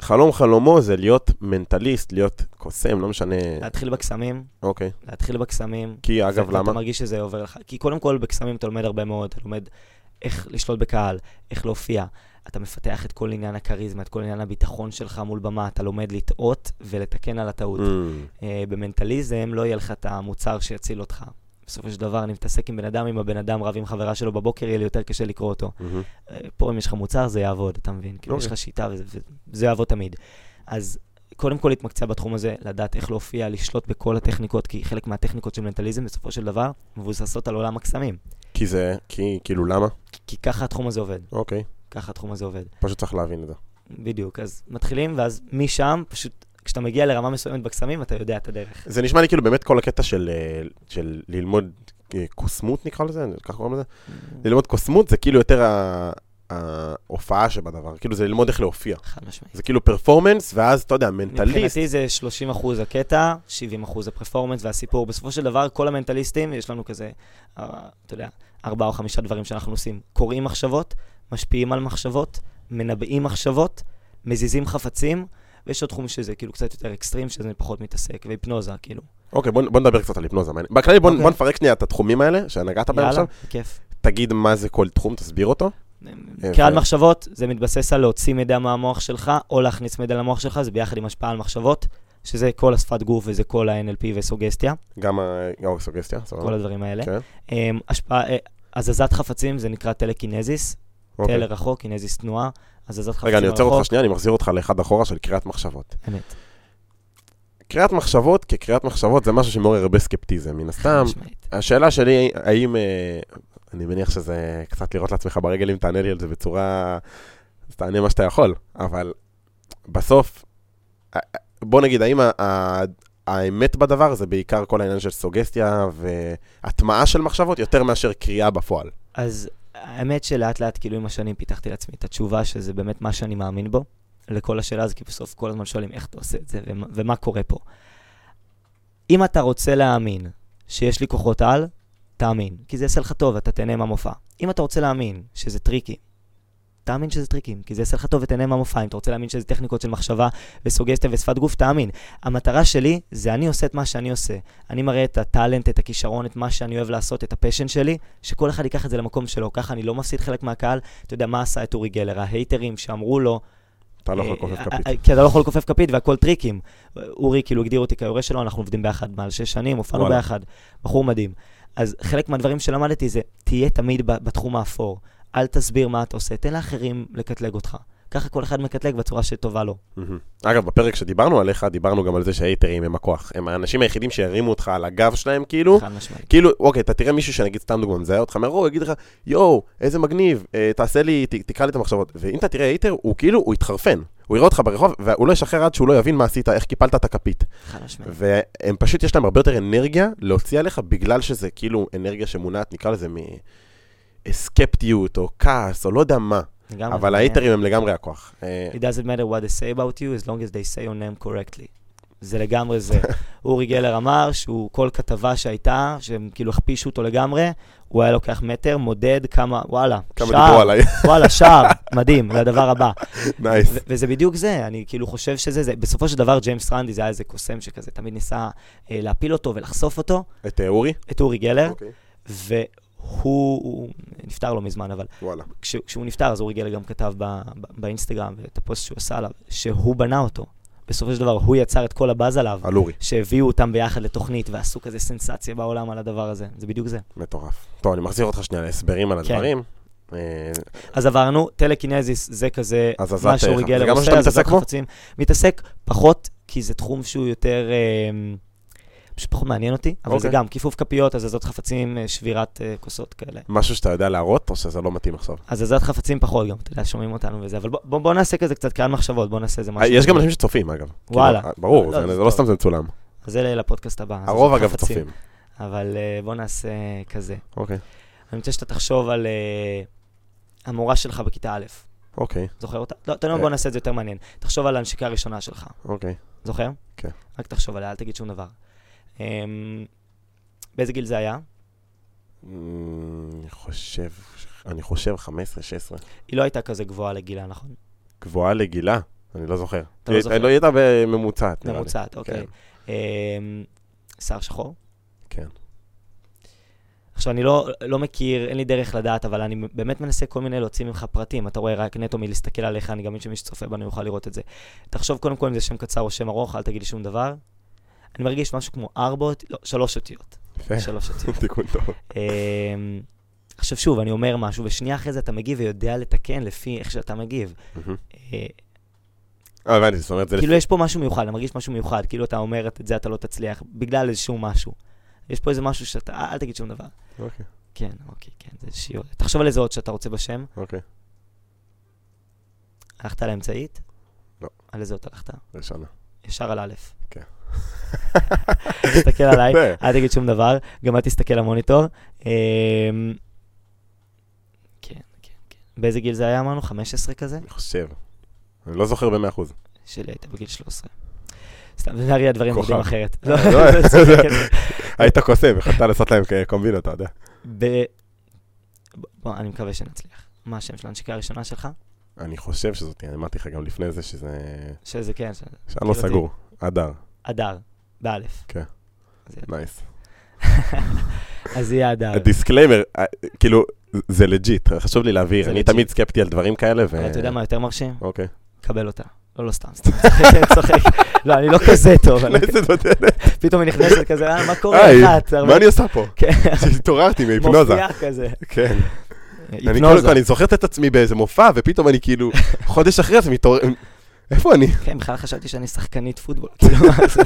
Speaker 2: חלום חלומו זה להיות מנטליסט, להיות קוסם, לא משנה.
Speaker 1: להתחיל בקסמים,
Speaker 2: אוקיי.
Speaker 1: להתחיל בקסמים.
Speaker 2: כי
Speaker 1: אה, זה-
Speaker 2: אגב, למה?
Speaker 1: אתה מרגיש שזה עובר לך. כי קודם כל בקסמים אתה לומד הרבה מאוד, אתה לומד איך לשלוט בקהל, איך להופיע. אתה מפתח את כל עניין הכריזמה, את כל עניין הביטחון שלך מול במה, אתה לומד לטעות ולתקן על הטעות.
Speaker 2: Mm,
Speaker 1: אה, במנטליזם לא יהיה לך את המוצר שיציל אותך. בסופו של דבר, אני מתעסק עם בן אדם, אם הבן אדם רב עם חברה שלו בבוקר, יהיה לי יותר קשה לקרוא אותו.
Speaker 2: מהמם.
Speaker 1: אה, פה אם יש לך מוצר, זה יעבוד, אתה מבין? כאילו, יש
Speaker 2: אוקיי.
Speaker 1: לך שיטה וזה- וזה יעבוד תמיד. אז קודם כל להתמקצע בתחום הזה, לדעת איך להופיע, לשלוט בכל הטכניקות, כי חלק מהטכניקות של מנטליזם בסופו של דבר מבוססות על עולם הקסמים.
Speaker 2: כי זה, כי, כאילו, למה?
Speaker 1: כי- כי ככה התחום הזה עובד,
Speaker 2: אוקיי,
Speaker 1: ככה התחום הזה עובד.
Speaker 2: פשוט צריך להבין את זה.
Speaker 1: בדיוק, אז מתחילים, ואז משם, פשוט כשאתה מגיע לרמה מסוימת בקסמים, אתה יודע את הדרך.
Speaker 2: זה נשמע לי כאילו באמת כל הקטע של, אה, של ללמוד אה, קוסמות, נקרא לזה, ככה קוראים לזה? ללמוד קוסמות זה כאילו יותר ה- ההופעה שבדבר, כאילו זה ללמוד איך להופיע.
Speaker 1: חד משמעית.
Speaker 2: זה כאילו פרפורמנס, ואז, אתה יודע, מנטליסט.
Speaker 1: מבחינתי זה 30 אחוז הקטע, 70 אחוז הפרפורמנס והסיפור. בסופו של דבר, כל המנטליסטים, יש לנו כזה, אה, אתה יודע, ארבעה או חמישה דברים שאנחנו עושים. קוראים מחשבות, משפיעים על מחשבות, מנבאים מחשבות, מזיזים חפצים, ויש עוד תחום שזה כאילו קצת יותר אקסטרים, שזה אני פחות מתעסק, והיפנוזה, כאילו.
Speaker 2: אוקיי, בוא, בוא נדבר קצת על היפנוזה. מעניין. בכללי, בוא,
Speaker 1: אוקיי.
Speaker 2: בוא נפרק שנייה את התחומים האלה שנגעת בהם
Speaker 1: יאללה,
Speaker 2: עכשיו.
Speaker 1: כיף.
Speaker 2: תגיד מה זה כל תחום, תסביר אותו.
Speaker 1: קריאת מחשבות, זה מתבסס על להוציא מידע מהמוח שלך, או להכניס מידע למוח שלך, זה ביחד עם השפעה על מחשבות, שזה כל השפת גוף וזה כל ה-NLP וסוגסטיה.
Speaker 2: גם ה- גם הסוגסטיה, סבבה.
Speaker 1: כל הדברים האלה.
Speaker 2: כן.
Speaker 1: אמ, השפעה, אה, הזזת חפצים זה נקרא טלקינזיס,
Speaker 2: אוקיי.
Speaker 1: טל לרחוק, קינזיס תנועה, הזזת חפצים
Speaker 2: רגע, אני עוצר אותך
Speaker 1: לרחוק.
Speaker 2: שנייה, אני מחזיר אותך לאחד אחורה של קריאת מחשבות.
Speaker 1: אמת,
Speaker 2: קריאת מחשבות כקריאת מחשבות זה משהו שמעורר הרבה סקפטיזם, מן הסתם.
Speaker 1: משמעית.
Speaker 2: השאלה שלי, האם... אה, אני מניח שזה קצת לראות לעצמך ברגל אם תענה לי על זה בצורה... אז תענה מה שאתה יכול, אבל בסוף, אה, אה, בוא נגיד, האם ה- ה- האמת בדבר זה בעיקר כל העניין של סוגסטיה והטמעה של מחשבות יותר מאשר קריאה בפועל.
Speaker 1: אז האמת שלאט לאט, כאילו עם השנים פיתחתי לעצמי את התשובה שזה באמת מה שאני מאמין בו, לכל השאלה הזו, כי בסוף כל הזמן שואלים איך אתה עושה את זה ומה, ומה קורה פה. אם אתה רוצה להאמין שיש לי כוחות על, תאמין, כי זה יעשה לך טוב, אתה תהנה מהמופע. אם אתה רוצה להאמין שזה טריקי, תאמין שזה טריקים, כי זה יעשה לך טוב ותהנה מהמופע. אם אתה רוצה להאמין שזה טכניקות של מחשבה וסוגסטיה ושפת גוף, תאמין. המטרה שלי זה אני עושה את מה שאני עושה. אני מראה את הטאלנט, את הכישרון, את מה שאני אוהב לעשות, את הפשן שלי, שכל אחד ייקח את זה למקום שלו. ככה אני לא מפסיד חלק מהקהל. אתה יודע, מה עשה את אורי גלר? ההייטרים שאמרו לו,
Speaker 2: אתה לא יכול
Speaker 1: אה,
Speaker 2: לכופף
Speaker 1: אה,
Speaker 2: כפית.
Speaker 1: אה, כי אתה לא יכול לכופף כפית והכל טריקים. אורי כאילו הגדיר אותי כיורש שלו, אנחנו עובדים ביחד מעל שש שנים, הופענו
Speaker 2: וואלה.
Speaker 1: ביחד. בחור מדהים. אז חלק מהדברים שלמדתי זה, תהיה תמיד ב- בתחום האפור. אל תסביר מה אתה עושה, תן לאחרים לקטלג אותך. ככה כל אחד מקטלג בצורה שטובה לו.
Speaker 2: מהמם. אגב, בפרק שדיברנו עליך, דיברנו גם על זה שההייטרים הם הכוח. הם האנשים היחידים שירימו אותך על הגב שלהם, כאילו.
Speaker 1: חד משמעית.
Speaker 2: כאילו, אוקיי, אתה תראה מישהו שנגיד, סתם דוגמא, מזהה אותך מהרוב, הוא יגיד לך, יואו, איזה מגניב, אה, תעשה לי, ת- תקרא לי את המחשבות. ואם אתה תראה הייטר, הוא כאילו, הוא יתחרפן. הוא יראה אותך ברחוב, והוא לא ישחרר עד שהוא לא יבין מה עשית, איך קיפלת את הכפית.
Speaker 1: חד משמעית.
Speaker 2: והם פשוט, יש להם הרבה יותר אנרגיה להוציא עליך, בגלל שזה כאילו אנרגיה שמונעת, נקרא לזה, מסקפטיות, או כעס, או לא יודע מה.
Speaker 1: לגמרי.
Speaker 2: אבל ההייטרים הם לגמרי הכוח. אה,
Speaker 1: It doesn't matter what they say about you, as long as they say your name correctly. זה לגמרי זה. אורי גלר אמר שהוא, כל כתבה שהייתה, שהם כאילו הכפישו אותו לגמרי, הוא היה לוקח מטר, מודד כמה, וואלה,
Speaker 2: כמה דיברו עליי,
Speaker 1: וואלה, שער, מדהים, זה הדבר הבא.
Speaker 2: נייס.
Speaker 1: ו- וזה בדיוק זה, אני כאילו חושב שזה זה. בסופו של דבר, ג'יימס רנדי זה היה איזה קוסם שכזה, תמיד ניסה אה, להפיל אותו ולחשוף אותו,
Speaker 2: את אה, אורי?
Speaker 1: את אורי גלר,
Speaker 2: אוקיי.
Speaker 1: והוא הוא נפטר לא מזמן, אבל
Speaker 2: וואלה.
Speaker 1: כש, כשהוא נפטר, אז אורי גלר גם כתב ב, ב, באינסטגרם, את הפוסט שהוא עשה עליו, שהוא בנה אותו. בסופו של דבר, הוא יצר את כל הבאז עליו,
Speaker 2: על אורי.
Speaker 1: שהביאו אותם ביחד לתוכנית, ועשו כזה סנסציה בעולם על הדבר הזה. זה בדיוק זה.
Speaker 2: מטורף. טוב, אני מחזיר אותך שנייה להסברים על הדברים. אה,
Speaker 1: אז עברנו, טלקינזיס זה כזה,
Speaker 2: הזזת
Speaker 1: מה שאורי
Speaker 2: איך.
Speaker 1: גלר
Speaker 2: זה אה, גם מה
Speaker 1: עושה,
Speaker 2: שאתה
Speaker 1: הזזת
Speaker 2: מתעסק בו?
Speaker 1: חפצים. מתעסק פחות, כי זה תחום שהוא יותר, אה, פשוט פחות מעניין אותי, אבל זה
Speaker 2: אוקיי.
Speaker 1: גם כיפוף כפיות, הזזות חפצים, אה, שבירת אה, כוסות כאלה.
Speaker 2: משהו שאתה יודע להראות, או שזה לא מתאים עכשיו?
Speaker 1: הזזת חפצים פחות גם, אתה יודע, שומעים אותנו וזה, אבל בוא- בוא בוא נעשה כזה קצת קהל מחשבות, בוא נעשה איזה משהו.
Speaker 2: אה, יש גם אנשים שצופים, אגב. כאילו,
Speaker 1: וואלה.
Speaker 2: אה, ברור,
Speaker 1: לא,
Speaker 2: זה
Speaker 1: זה
Speaker 2: זה
Speaker 1: טוב.
Speaker 2: לא סתם זה מצולם.
Speaker 1: אז זה לפודקאסט הבא. אז
Speaker 2: הרוב, אגב,
Speaker 1: חפצים.
Speaker 2: צופים.
Speaker 1: אבל אה, בוא נעשה כזה.
Speaker 2: אוקיי.
Speaker 1: אני רוצה שאתה תחשוב על אה, המורה שלך בכיתה א',
Speaker 2: אוקיי,
Speaker 1: זוכר אותה? לא, אתה יודע מה,
Speaker 2: אה.
Speaker 1: בוא נעשה את זה יותר מעניין. תחשוב על ההנשיקה הראשונה שלך,
Speaker 2: אוקיי.
Speaker 1: זוכר?
Speaker 2: כן.
Speaker 1: רק תחשוב עליה, אל תגיד שום דבר. אמ, באיזה גיל זה היה?
Speaker 2: אמ, אני חושב, אני חושב 15-16.
Speaker 1: היא לא הייתה כזה גבוהה לגילה, נכון?
Speaker 2: גבוהה לגילה, אני לא זוכר.
Speaker 1: אתה לא זוכר.
Speaker 2: לא הייתה בממוצעת, נראה לי.
Speaker 1: ממוצעת,
Speaker 2: כן.
Speaker 1: אוקיי. אמ, שיער שחור?
Speaker 2: כן.
Speaker 1: עכשיו, אני לא, לא מכיר, אין לי דרך לדעת, אבל אני באמת מנסה כל מיני להוציא ממך פרטים. אתה רואה רק נטו מלהסתכל עליך, אני גם מבין שמי שצופה בנו יוכל לראות את זה. תחשוב קודם כל אם זה שם קצר או שם ארוך, אל תגיד לי שום דבר. אני מרגיש משהו כמו ארבע, אות- לא, שלוש אותיות.
Speaker 2: יפה.
Speaker 1: שלוש אותיות.
Speaker 2: תיקון טוב.
Speaker 1: אמ, עכשיו שוב, אני אומר משהו, ושנייה אחרי זה אתה מגיב ויודע לתקן לפי איך שאתה מגיב.
Speaker 2: מהמם.
Speaker 1: אה,
Speaker 2: אה, הבנתי, זאת אומרת, זה
Speaker 1: כאילו יש פה משהו מיוחד, אני מרגיש משהו מיוחד, כאילו אתה אומר את זה אתה לא תצליח, בגלל איזשהו משהו. יש פה איזה משהו שאתה, אל אל תגיד שום דבר.
Speaker 2: לפי- אוקיי,
Speaker 1: כן, אוקיי, כן, זה שיעור. תחשוב על איזה עוד שאתה רוצה בשם.
Speaker 2: אוקיי.
Speaker 1: הלכת על האמצעית?
Speaker 2: לא.
Speaker 1: על איזה אות הלכת?
Speaker 2: ראשונה.
Speaker 1: ישר על א'.
Speaker 2: כן.
Speaker 1: תסתכל עליי,
Speaker 2: זה.
Speaker 1: אל תגיד שום דבר, גם אל תסתכל למוניטור. אמ, כן, כן, כן. באיזה גיל זה היה אמרנו? 15 כזה?
Speaker 2: אני חושב. אני לא זוכר במאה אחוז.
Speaker 1: שלי הייתה בגיל 13. סתם, זה הרי הדברים
Speaker 2: כוכב.
Speaker 1: עובדים אחרת. לא,
Speaker 2: לא,
Speaker 1: זה צודקת.
Speaker 2: היית קוסם, יכולת לעשות להם כ- קומבינה, אתה יודע.
Speaker 1: ב... בוא, אני מקווה שנצליח. מה השם של הנשיקה הראשונה שלך?
Speaker 2: אני חושב שזאת, אני אמרתי לך גם לפני זה, שזה...
Speaker 1: שזה כן, ש...
Speaker 2: שאני לא
Speaker 1: אותי.
Speaker 2: סגור. אדר,
Speaker 1: הדר, באלף.
Speaker 2: כן.
Speaker 1: אז יהיה-
Speaker 2: נייס.
Speaker 1: אז יהיה הדר.
Speaker 2: דיסקליימר, אה, כאילו, זה לג'יט, חשוב לי להבהיר.
Speaker 1: זה
Speaker 2: אני
Speaker 1: legit.
Speaker 2: תמיד סקפטי על דברים כאלה, ו...
Speaker 1: אבל אתה יודע מה יותר מרשים?
Speaker 2: אוקיי.
Speaker 1: קבל אותה. לא, לא סתם, סתם, צוחק, צוחק. לא, אני לא כזה טוב. אני-
Speaker 2: נכנסת בדלת.
Speaker 1: פתאום היא נכנסת כזה, "אה, מה קורה
Speaker 2: היי,
Speaker 1: לך? את הרבה-"
Speaker 2: מה אני עושה פה?
Speaker 1: כן.
Speaker 2: התעוררתי מהיפנוזה.
Speaker 1: מופיעה כזה.
Speaker 2: כן. אני כל
Speaker 1: היפנוזה.
Speaker 2: הזמן, אני זוכר את עצמי באיזה מופע, ופתאום אני כאילו, חודש אחרי זה מתעורר... איפה אני?
Speaker 1: כן, בכלל חשבתי שאני שחקנית פוטבול. כאילו, מה זה?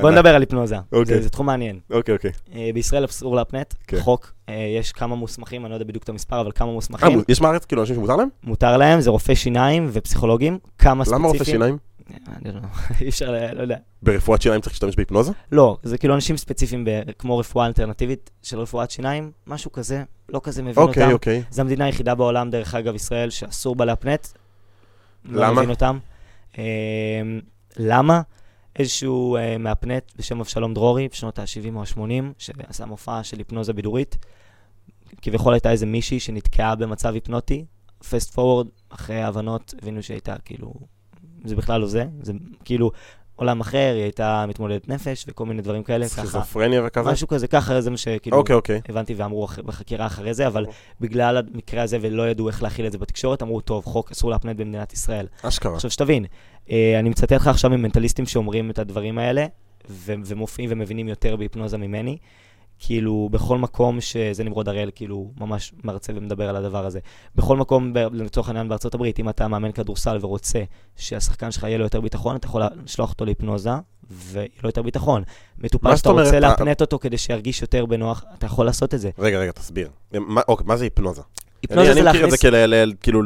Speaker 1: בוא
Speaker 2: ענק.
Speaker 1: נדבר על היפנוזה.
Speaker 2: אוקיי.
Speaker 1: זה- זה תחום מעניין.
Speaker 2: אוקיי, אוקיי.
Speaker 1: אה, בישראל אסור להפנט,
Speaker 2: כן.
Speaker 1: חוק, אה, יש כמה מוסמכים, אני לא יודע בדיוק את המספר, אבל כמה
Speaker 2: אה,
Speaker 1: מוסמכים,
Speaker 2: יש בארץ כאילו אנשים שמותר להם?
Speaker 1: מותר להם, זה רופא שיניים ופסיכולוגים, כמה ספציפיים.
Speaker 2: למה רופא שיניים?
Speaker 1: אה, אני לא יודע, אי אפשר, ל- לא יודע.
Speaker 2: ברפואת שיניים צריך להשתמש בהיפנוזה?
Speaker 1: לא, זה כאילו אנשים ספציפיים, ב- כמו רפואה אלטרנטיבית של רפואת שיניים, משהו כזה, לא כזה מבין אותם.
Speaker 2: אוקיי, אוקיי.
Speaker 1: זו המדינה היחידה בעולם, דרך אגב, ישראל, שאסור בה להפנט. לא
Speaker 2: למה?
Speaker 1: מבין אותם. אה, למה? איזשהו אה, מהפנט בשם אבשלום דרורי, בשנות ה-70 או ה-80, שעשה מופע של היפנוזה בידורית. כביכול הייתה איזה מישהי שנתקעה במצב היפנוטי. פסט פורוורד, אחרי ההבנות, הבינו שהייתה כאילו... זה בכלל לא זה, זה כאילו עולם אחר, היא הייתה מתמודדת נפש וכל מיני דברים כאלה, ככה.
Speaker 2: סכיזופרניה וכזה?
Speaker 1: משהו כאילו- כזה, ככה זה מה שכאילו
Speaker 2: אוקיי, אוקיי.
Speaker 1: הבנתי ואמרו אח- בחקירה אחרי זה, אבל בגלל המקרה הזה ולא ידעו איך להכיל את זה בתקשורת, אמרו, טוב, חוק אסור להפנט במדינת ישראל.
Speaker 2: אשכרה.
Speaker 1: עכשיו שתבין, אה, אני מצטט לך עכשיו ממנטליסטים שאומרים את הדברים האלה, ו- ומופיעים ומבינים יותר בהיפנוזה ממני, כאילו, בכל מקום שזה נמרוד הראל, כאילו, ממש מרצה ומדבר על הדבר הזה. בכל מקום, ב- לצורך העניין בארצות הברית, אם אתה מאמן כדורסל ורוצה שהשחקן שלך יהיה לו יותר ביטחון, אתה יכול לשלוח אותו להיפנוזה, ויהיה לו יותר ביטחון.
Speaker 2: מה
Speaker 1: מטופל
Speaker 2: זאת
Speaker 1: שאתה רוצה
Speaker 2: אומרת? אה,
Speaker 1: להפנט אותו כדי שירגיש יותר בנוח, אתה יכול לעשות את זה.
Speaker 2: רגע, רגע, תסביר. מה- אוקיי, מה זה היפנוזה? אני
Speaker 1: היפנוזה
Speaker 2: אני
Speaker 1: לא, זה
Speaker 2: מכיר את זה
Speaker 1: להכניס
Speaker 2: כאלה, אלה- כאילו,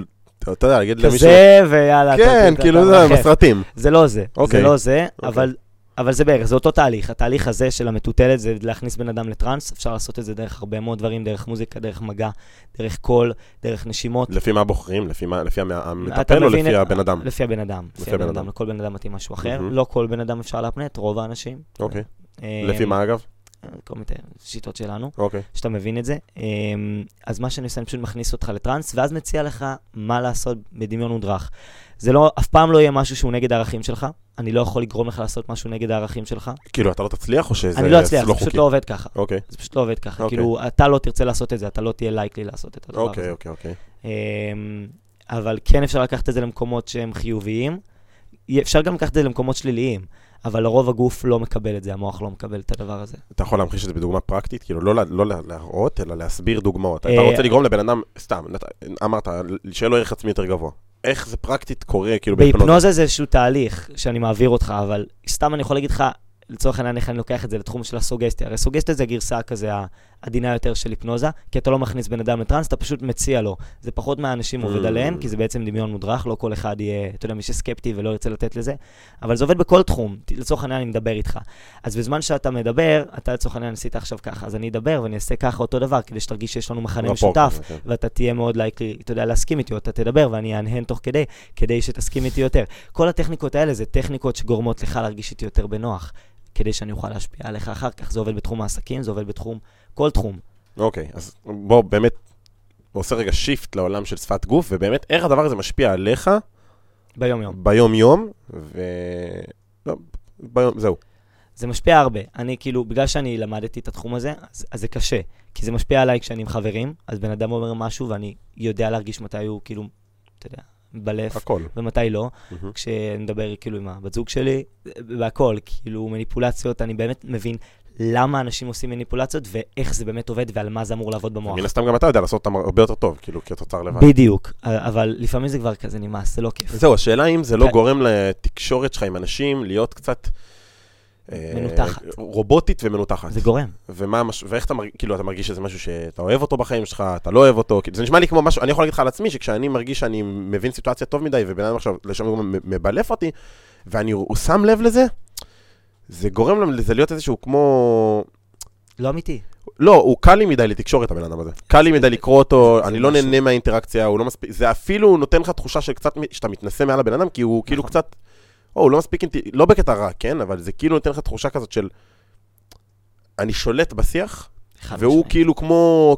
Speaker 2: אתה יודע, להגיד למישהו...
Speaker 1: כזה, ויאללה, אתה-
Speaker 2: כן,
Speaker 1: אתה-
Speaker 2: כאילו,
Speaker 1: אתה
Speaker 2: זה
Speaker 1: מרחף.
Speaker 2: בסרטים.
Speaker 1: זה לא זה,
Speaker 2: אוקיי.
Speaker 1: זה לא זה,
Speaker 2: אוקיי.
Speaker 1: אבל... אבל זה בערך, זה אותו תהליך. התהליך הזה של המטוטלת זה להכניס בן אדם לטראנס, אפשר לעשות את זה דרך הרבה מאוד דברים, דרך מוזיקה, דרך מגע, דרך קול, דרך נשימות.
Speaker 2: לפי מה בוחרים? לפי מה- לפי המ-
Speaker 1: אתה
Speaker 2: המטפל או
Speaker 1: מבין
Speaker 2: לפי
Speaker 1: את-
Speaker 2: הבן אדם?
Speaker 1: לפי הבן אדם. לפי הבן אדם. לכל בן אדם מתאים משהו אחר.
Speaker 2: מהמם.
Speaker 1: לא כל בן אדם אפשר להפנט, רוב האנשים.
Speaker 2: אוקיי.
Speaker 1: אה,
Speaker 2: לפי מה אגב?
Speaker 1: כל מיני שיטות שלנו,
Speaker 2: אוקיי.
Speaker 1: שאתה מבין את זה. אה, אז מה שאני עושה, אני פשוט מכניס אותך לטראנס, ואז מציע לך מה לעשות בדמיון מודרך. זה לא, אף פעם לא יהיה משהו שהוא נגד הערכים שלך. אני לא יכול לגרום לך לעשות משהו נגד הערכים שלך.
Speaker 2: כאילו, אתה לא תצליח או שזה
Speaker 1: אני לא אצליח, זה פשוט
Speaker 2: חוקי?
Speaker 1: לא עובד ככה.
Speaker 2: אוקיי.
Speaker 1: זה פשוט לא עובד ככה.
Speaker 2: אוקיי.
Speaker 1: כאילו, אתה לא תרצה לעשות את זה, אתה לא תהיה לייקלי לעשות את הדבר
Speaker 2: אוקיי,
Speaker 1: הזה.
Speaker 2: אוקיי, אוקיי.
Speaker 1: אמ, אבל כן אפשר לקחת את זה למקומות שהם חיוביים. י- אפשר גם לקחת את זה למקומות שליליים, אבל לרוב הגוף לא מקבל את זה, המוח לא מקבל את הדבר הזה.
Speaker 2: אתה יכול להמחיש את זה בדוגמה פרקטית? כאילו, לא לה- לא לה- להראות, אלא להסביר דוגמאות. אתה
Speaker 1: אה,
Speaker 2: רוצה לגרום לבן אדם, סתם, נת- אמרת, שיהיה לו ערך עצמי יותר גבוה. איך זה פרקטית קורה, כאילו, בהיפנוזה?
Speaker 1: בהיפנוזה זה איזשהו תהליך שאני מעביר אותך, אבל סתם אני יכול להגיד לך, לצורך העניין, איך אני לוקח את זה לתחום של הסוגסטיה. הרי סוגסטיה זה הגרסה כזה העדינה יותר של היפנוזה, כי אתה לא מכניס בן אדם לטראנס, אתה פשוט מציע לו. זה פחות מהאנשים עובד
Speaker 2: Mm.
Speaker 1: עליהם, כי זה בעצם דמיון מודרך, לא כל אחד יהיה, אתה יודע, מי שסקפטי ולא ירצה לתת לזה, אבל זה עובד בכל תחום. ת- לצורך העניין, אני מדבר איתך. אז בזמן שאתה מדבר, אתה לצורך העניין עשית עכשיו ככה, אז אני אדבר ואני אעשה ככה אותו דבר, כדי שתרגיש שיש לנו מכנה
Speaker 2: רפורט
Speaker 1: משותף,
Speaker 2: כזה, כן.
Speaker 1: ואתה תהיה מאוד לייקלי, אתה יודע, להסכים איתי, או אתה תדבר ואני אהנהן תוך כדי, כדי שתסכים איתי יותר. כל הטכניקות האלה זה טכניקות שגורמות לך להרגיש איתי יותר בנוח, כדי שאני אוכל להשפיע עליך אחר כך. זה עובד בתחום העסקים, זה עובד בתחום, כל תחום.
Speaker 2: אוקיי, אז בוא באמת, עושה רגע שיפט לעולם של שפת גוף, ובאמת, איך הדבר הזה משפיע עליך
Speaker 1: ביום-יום.
Speaker 2: ביום-יום, ו... לא, ביום, זהו.
Speaker 1: זה משפיע הרבה. אני כאילו, בגלל שאני למדתי את התחום הזה, אז, אז זה קשה. כי זה משפיע עליי כשאני עם חברים, אז בן אדם אומר משהו ואני יודע להרגיש מתי הוא כאילו, אתה יודע, בלף,
Speaker 2: הכל.
Speaker 1: ומתי לא.
Speaker 2: מהמם.
Speaker 1: כשאני מדבר כאילו עם הבת זוג שלי, והכל, כאילו מניפולציות, אני באמת מבין למה אנשים עושים מניפולציות ואיך זה באמת עובד ועל מה זה אמור לעבוד במוח.
Speaker 2: מן הסתם גם אתה יודע לעשות אותם הרבה יותר טוב, כאילו, כתוצר לבד.
Speaker 1: בדיוק, אבל לפעמים זה כבר כזה נמאס, זה לא כיף.
Speaker 2: זהו, השאלה אם זה לא
Speaker 1: כן.
Speaker 2: גורם לתקשורת שלך עם אנשים להיות קצת... אה,
Speaker 1: מנותחת.
Speaker 2: רובוטית ומנותחת.
Speaker 1: זה גורם.
Speaker 2: ומה המש... ואיך אתה מרגיש, כאילו, אתה מרגיש שזה משהו שאתה אוהב אותו בחיים שלך, אתה לא אוהב אותו, כאילו, זה נשמע לי כמו משהו, אני יכול להגיד לך על עצמי, שכשאני מרגיש שאני מבין סיטואציה טוב מדי, ובן אדם עכשיו, לשם דוגמה, מ- מבלף אותי, ואני, הוא שם לב לזה, זה גורם לו- לזה להיות איזשהו כמו...
Speaker 1: לא אמיתי.
Speaker 2: לא, הוא קל לי מדי לתקשורת, הבן אדם הזה. קל לי מדי לקרוא אותו,
Speaker 1: זה
Speaker 2: אני לא
Speaker 1: משהו.
Speaker 2: נהנה מהאינטראקציה, הוא לא מספיק... זה אפילו נותן לך תחושה של קצת, מ- שאתה מתנשא מעל הבן אדם, כי הוא כאילו
Speaker 1: נכון.
Speaker 2: קצת... או, הוא לא מספיק אינטי... לא בקטע רע, כן? אבל זה כאילו נותן לך תחושה כזאת של... אני שולט בשיח,
Speaker 1: חד
Speaker 2: והוא
Speaker 1: משמעית.
Speaker 2: כאילו כמו,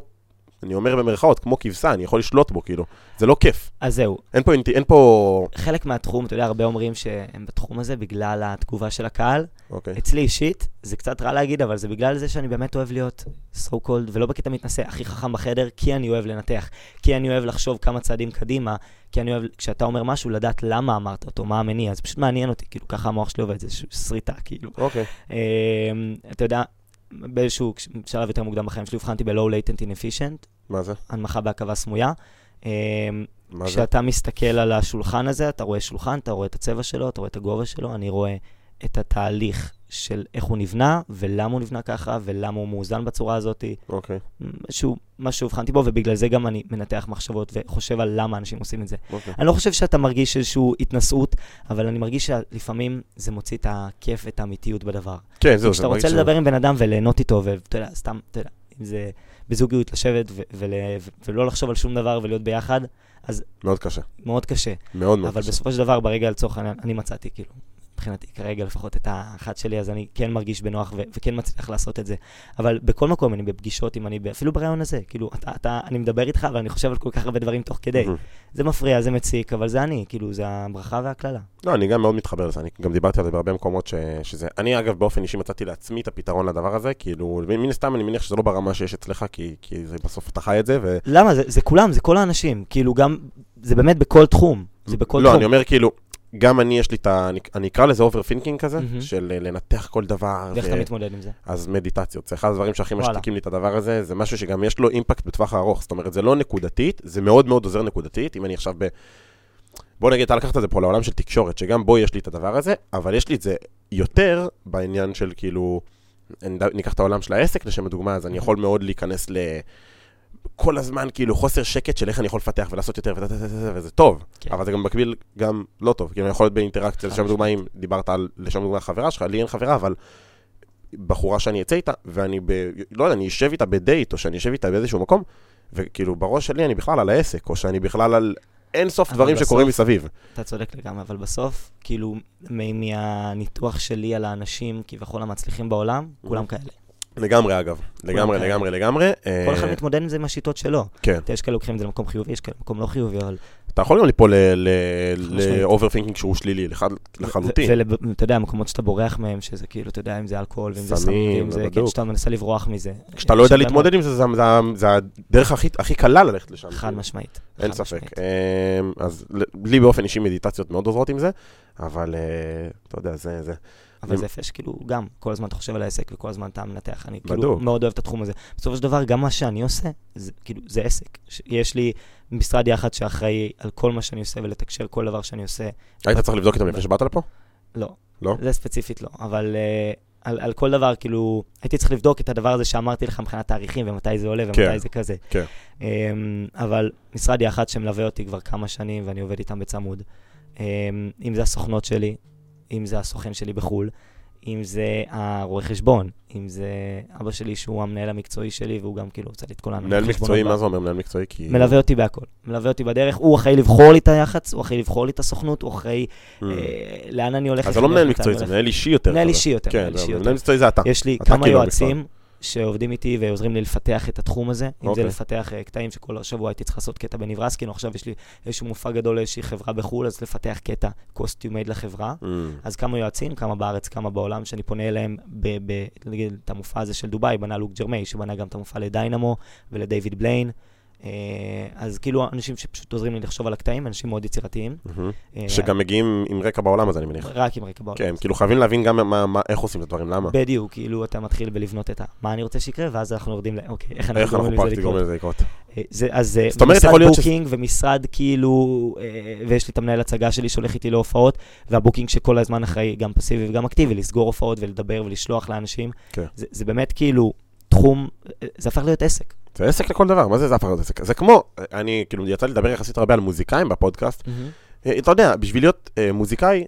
Speaker 2: אני אומר במרכאות, כמו כבשה, אני יכול לשלוט בו, כאילו. זה לא כיף.
Speaker 1: אז זהו,
Speaker 2: אין פה, אינטי- אין פה...
Speaker 1: חלק מהתחום, אתה יודע, הרבה אומרים שהם בתחום הזה בגלל התגובה של הקהל.
Speaker 2: אוקיי.
Speaker 1: אצלי אישית, זה קצת רע להגיד, אבל זה בגלל זה שאני באמת אוהב להיות so called, ולא בקטע מתנשא, הכי חכם בחדר, כי אני אוהב לנתח, כי אני אוהב לחשוב כמה צעדים קדימה, כי אני אוהב, כשאתה אומר משהו, לדעת למה אמרת אותו, מה המניע, זה פשוט מעניין אותי, כאילו, ככה המוח שלי עובד, זה ש- שריטה, כאילו.
Speaker 2: אוקיי.
Speaker 1: אמ, אתה יודע, באיזשהו כש- שלב יותר מוקדם בחיים שלי, הבחנתי ב-Low Latent Inefficient,
Speaker 2: מה זה?
Speaker 1: הנמכה בהקבה סמויה. אמ,
Speaker 2: מה זה?
Speaker 1: כשאתה מסתכל על השולחן הזה, אתה רואה שולחן, אתה רואה את הצבע שלו, אתה רואה את הגובה שלו, אני רואה את התהליך של איך הוא נבנה, ולמה הוא נבנה ככה, ולמה הוא מאוזן בצורה הזאת,
Speaker 2: אוקיי.
Speaker 1: משהו, מה שהבחנתי בו, ובגלל זה גם אני מנתח מחשבות וחושב על למה אנשים עושים את זה.
Speaker 2: אוקיי.
Speaker 1: אני לא חושב שאתה מרגיש איזושהי התנשאות, אבל אני מרגיש שלפעמים זה מוציא את הכיף ואת האמיתיות בדבר.
Speaker 2: כן, זהו, זה
Speaker 1: כשאתה רוצה
Speaker 2: מרגיש-
Speaker 1: לדבר עם בן אדם וליהנות איתו, ואתה יודע, סתם, אתה יודע, אם זה בזוגיות, לשבת ו- ול- ו- ולא לחשוב על שום דבר ולהיות ביחד,
Speaker 2: מאוד קשה.
Speaker 1: מאוד קשה.
Speaker 2: מאוד מאוד
Speaker 1: אבל
Speaker 2: קשה.
Speaker 1: בסופו של דבר, ברגע לצורך העניין, אני מצאתי, כאילו, מבחינתי, כרגע לפחות את האחת שלי, אז אני כן מרגיש בנוח ו- וכן מצליח לעשות את זה. אבל בכל מקום, אני בפגישות, אם אני, ב- אפילו ברעיון הזה, כאילו, אתה, אתה, אני מדבר איתך, אבל אני חושב על כל כך הרבה דברים תוך כדי.
Speaker 2: מהמם.
Speaker 1: זה מפריע, זה מציק, אבל זה אני, כאילו, זה הברכה והקללה.
Speaker 2: לא, אני גם מאוד מתחבר לזה, אני גם דיברתי על זה בהרבה מקומות ש... שזה... אני אגב באופן אישי מצאתי לעצמי את הפתרון לדבר הזה, כאילו, מן מן הסתם אני מניח שזה לא ברמה שיש אצלך, כי, כי זה בסוף אתה חי את זה, ו...
Speaker 1: למה? זה, זה כולם, זה כל האנשים, כאילו, גם, זה באמת בכל תחום. זה בכל
Speaker 2: לא,
Speaker 1: תחום.
Speaker 2: אני אומר כאילו, גם אני, יש לי את ה... אני- אני אקרא לזה אוברפינקינג כזה,
Speaker 1: מהמם.
Speaker 2: של אה, לנתח כל דבר.
Speaker 1: ואיך
Speaker 2: ו-
Speaker 1: אתה מתמודד עם זה?
Speaker 2: אז מדיטציות, זה אחד הדברים שהכי
Speaker 1: וואלה.
Speaker 2: משתיקים לי את הדבר הזה, זה משהו שגם יש לו אימפקט בטווח הארוך, זאת אומרת, זה לא נקודתית, זה מאוד מאוד עוזר נקודתית, אם אני עכשיו ב... בוא נגיד, אתה לקחת את זה פה לעולם של תקשורת, שגם בו יש לי את הדבר הזה, אבל יש לי את זה יותר בעניין של כאילו, אני יודע- ניקח את העולם של העסק לשם הדוגמה, אז אני יכול מאוד להיכנס ל... כל הזמן כאילו חוסר שקט של איך אני יכול לפתח ולעשות יותר ותה- תה- תה- תה- וזה טוב,
Speaker 1: כן.
Speaker 2: אבל זה גם במקביל גם לא טוב, כאילו אני יכול להיות באינטראקציה,
Speaker 1: חד
Speaker 2: לשם דוגמה אם דיברת על, לשם דוגמה חברה שלך, לי אין חברה, אבל בחורה שאני אצא איתה, ואני ב... לא יודע, אני אשב איתה בדייט, או שאני אשב איתה באיזשהו מקום, וכאילו בראש שלי אני בכלל על העסק, או שאני בכלל על אין סוף
Speaker 1: אבל
Speaker 2: דברים
Speaker 1: בסוף-
Speaker 2: שקורים מסביב.
Speaker 1: אתה צודק לגמרי, אבל בסוף, כאילו, מ- מהניתוח שלי על האנשים כביכול המצליחים בעולם, כולם כאלה.
Speaker 2: לגמרי אגב, לגמרי,
Speaker 1: כאלה.
Speaker 2: לגמרי, לגמרי.
Speaker 1: אוקיי. כל
Speaker 2: אה,
Speaker 1: אחד מתמודד עם זה עם השיטות שלו.
Speaker 2: כן.
Speaker 1: אתה יודע, יש כאלה לוקחים את זה למקום חיובי, יש כאלה למקום לא חיובי, אבל...
Speaker 2: אתה יכול גם ליפול
Speaker 1: משמעית.
Speaker 2: לאוברפינקינג שהוא שלילי, לח- לחלוטין.
Speaker 1: ו- ו- ואתה יודע, המקומות שאתה בורח מהם, שזה כאילו, אתה יודע, אם זה אלכוהול, ואם זה
Speaker 2: סמים, לא
Speaker 1: סמים, ואם זה...
Speaker 2: בדוק.
Speaker 1: כאילו, שאתה מנסה לברוח מזה. אה,
Speaker 2: כשאתה לא יודע
Speaker 1: שווה
Speaker 2: להתמודד עם זה, זה- זה- זה הדרך הכי- הכי קלה ללכת לשם.
Speaker 1: מאוד. חד
Speaker 2: כאילו.
Speaker 1: משמעית.
Speaker 2: אין
Speaker 1: חד
Speaker 2: ספק.
Speaker 1: משמעית.
Speaker 2: אמ, אז ל- לי באופן אישי מדיטציות מאוד עוזרות עם זה, אבל אה, אתה יודע, זה... זה-
Speaker 1: אבל זה יפה שכאילו, גם, כל הזמן אתה חושב על העסק וכל הזמן אתה מנתח. אני כאילו
Speaker 2: בדוק.
Speaker 1: מאוד אוהב את התחום הזה. בסופו של דבר, גם מה שאני עושה, זה כאילו, זה עסק. ש- יש לי משרד יח"צ שאחראי על כל מה שאני עושה ולתקשר כל דבר שאני עושה.
Speaker 2: היית צריך לבדוק איתם לפני שבאת לפה?
Speaker 1: לא.
Speaker 2: לא?
Speaker 1: זה ספציפית לא, אבל uh, על, על כל דבר, כאילו, הייתי צריך לבדוק את הדבר הזה שאמרתי לך מבחינת תאריכים ומתי זה עולה ומתי
Speaker 2: כן,
Speaker 1: זה כזה.
Speaker 2: כן.
Speaker 1: Um, אבל משרד יח"צ שמלווה אותי כבר כמה שנים ואני עובד איתם בצמוד. Um, אם זה הסוכנות שלי, אם זה הסוכן שלי בחו"ל, אם זה הרואה חשבון, אם זה אבא שלי שהוא המנהל המקצועי שלי והוא גם כאילו קצת התכונן.
Speaker 2: מנהל מקצועי, מה
Speaker 1: מה
Speaker 2: זה אומר מנהל מקצועי? כי...
Speaker 1: לא. מלווה אותי בהכל, מלווה אותי בדרך, הוא אחראי לבחור לי את היח"צ, הוא אחראי לבחור לי את הסוכנות, הוא אחראי
Speaker 2: Mm.
Speaker 1: אה, לאן אני הולך.
Speaker 2: אז
Speaker 1: איך
Speaker 2: זה לא
Speaker 1: אני
Speaker 2: מנהל
Speaker 1: הולך, מתי
Speaker 2: מקצועי,
Speaker 1: אני
Speaker 2: זה
Speaker 1: הולך.
Speaker 2: מנהל אישי יותר.
Speaker 1: מנהל
Speaker 2: אבל-
Speaker 1: אישי יותר,
Speaker 2: כן,
Speaker 1: מנהל אישי יותר.
Speaker 2: מנהל מקצועי זה אתה.
Speaker 1: יש לי
Speaker 2: אתה
Speaker 1: כמה
Speaker 2: כאילו
Speaker 1: יועצים שעובדים איתי ועוזרים לי לפתח את התחום הזה, אם זה
Speaker 2: אוקיי.
Speaker 1: לפתח אה, קטעים שכל השבוע הייתי צריך לעשות קטע בנברסקין, או עכשיו יש לי איזשהו מופע גדול לאיזושהי חברה בחו"ל, אז לפתח קטע קוסטיומייד לחברה.
Speaker 2: Mm.
Speaker 1: אז כמה יועצים, כמה בארץ, כמה בעולם, שאני פונה אליהם, ב- ב- נגיד, את המופע הזה של דובאי, בנה לוק ג'רמי, שבנה גם את המופע לדיינמו ולדייוויד בליין. אה, אז כאילו אנשים שפשוט עוזרים לי לחשוב על הקטעים, אנשים מאוד יצירתיים.
Speaker 2: מהמם.
Speaker 1: אה,
Speaker 2: Mm-hmm. שגם מגיעים עם רקע בעולם הזה, אני מניח.
Speaker 1: רק עם רקע בעולם.
Speaker 2: כן, הם כאילו חייבים להבין גם מה- מה- איך עושים את הדברים, למה.
Speaker 1: בדיוק, כאילו אתה מתחיל בלבנות את ה... מה אני רוצה שיקרה, ואז אנחנו יורדים ל... אוקיי, איך אנחנו
Speaker 2: איך אנחנו
Speaker 1: גורמים לזה
Speaker 2: פרקטית גורמים
Speaker 1: לקרות?
Speaker 2: לזה לקרות.
Speaker 1: אה, זה, אז אה,
Speaker 2: זאת אומרת,
Speaker 1: משרד
Speaker 2: יכול להיות ש-
Speaker 1: בוקינג ומשרד כאילו, אה, ויש לי את המנהל הצגה שלי שהולך איתי להופעות, והבוקינג שכל הזמן אחראי, גם פסיבי וגם אקטיבי, לסגור הופעות ולדבר ולשלוח לאנשים.
Speaker 2: כן.
Speaker 1: זה, זה באמת כאילו תחום, אה, זה הפך להיות עסק.
Speaker 2: זה עסק לכל דבר, מה זה זה הפך להיות עסק? זה כמו, אני, כאילו, יצא לי לדבר יחסית הרבה על מוזיקאים בפודקאסט, אה, אתה יודע, בשביל להיות אה, מוזיקאי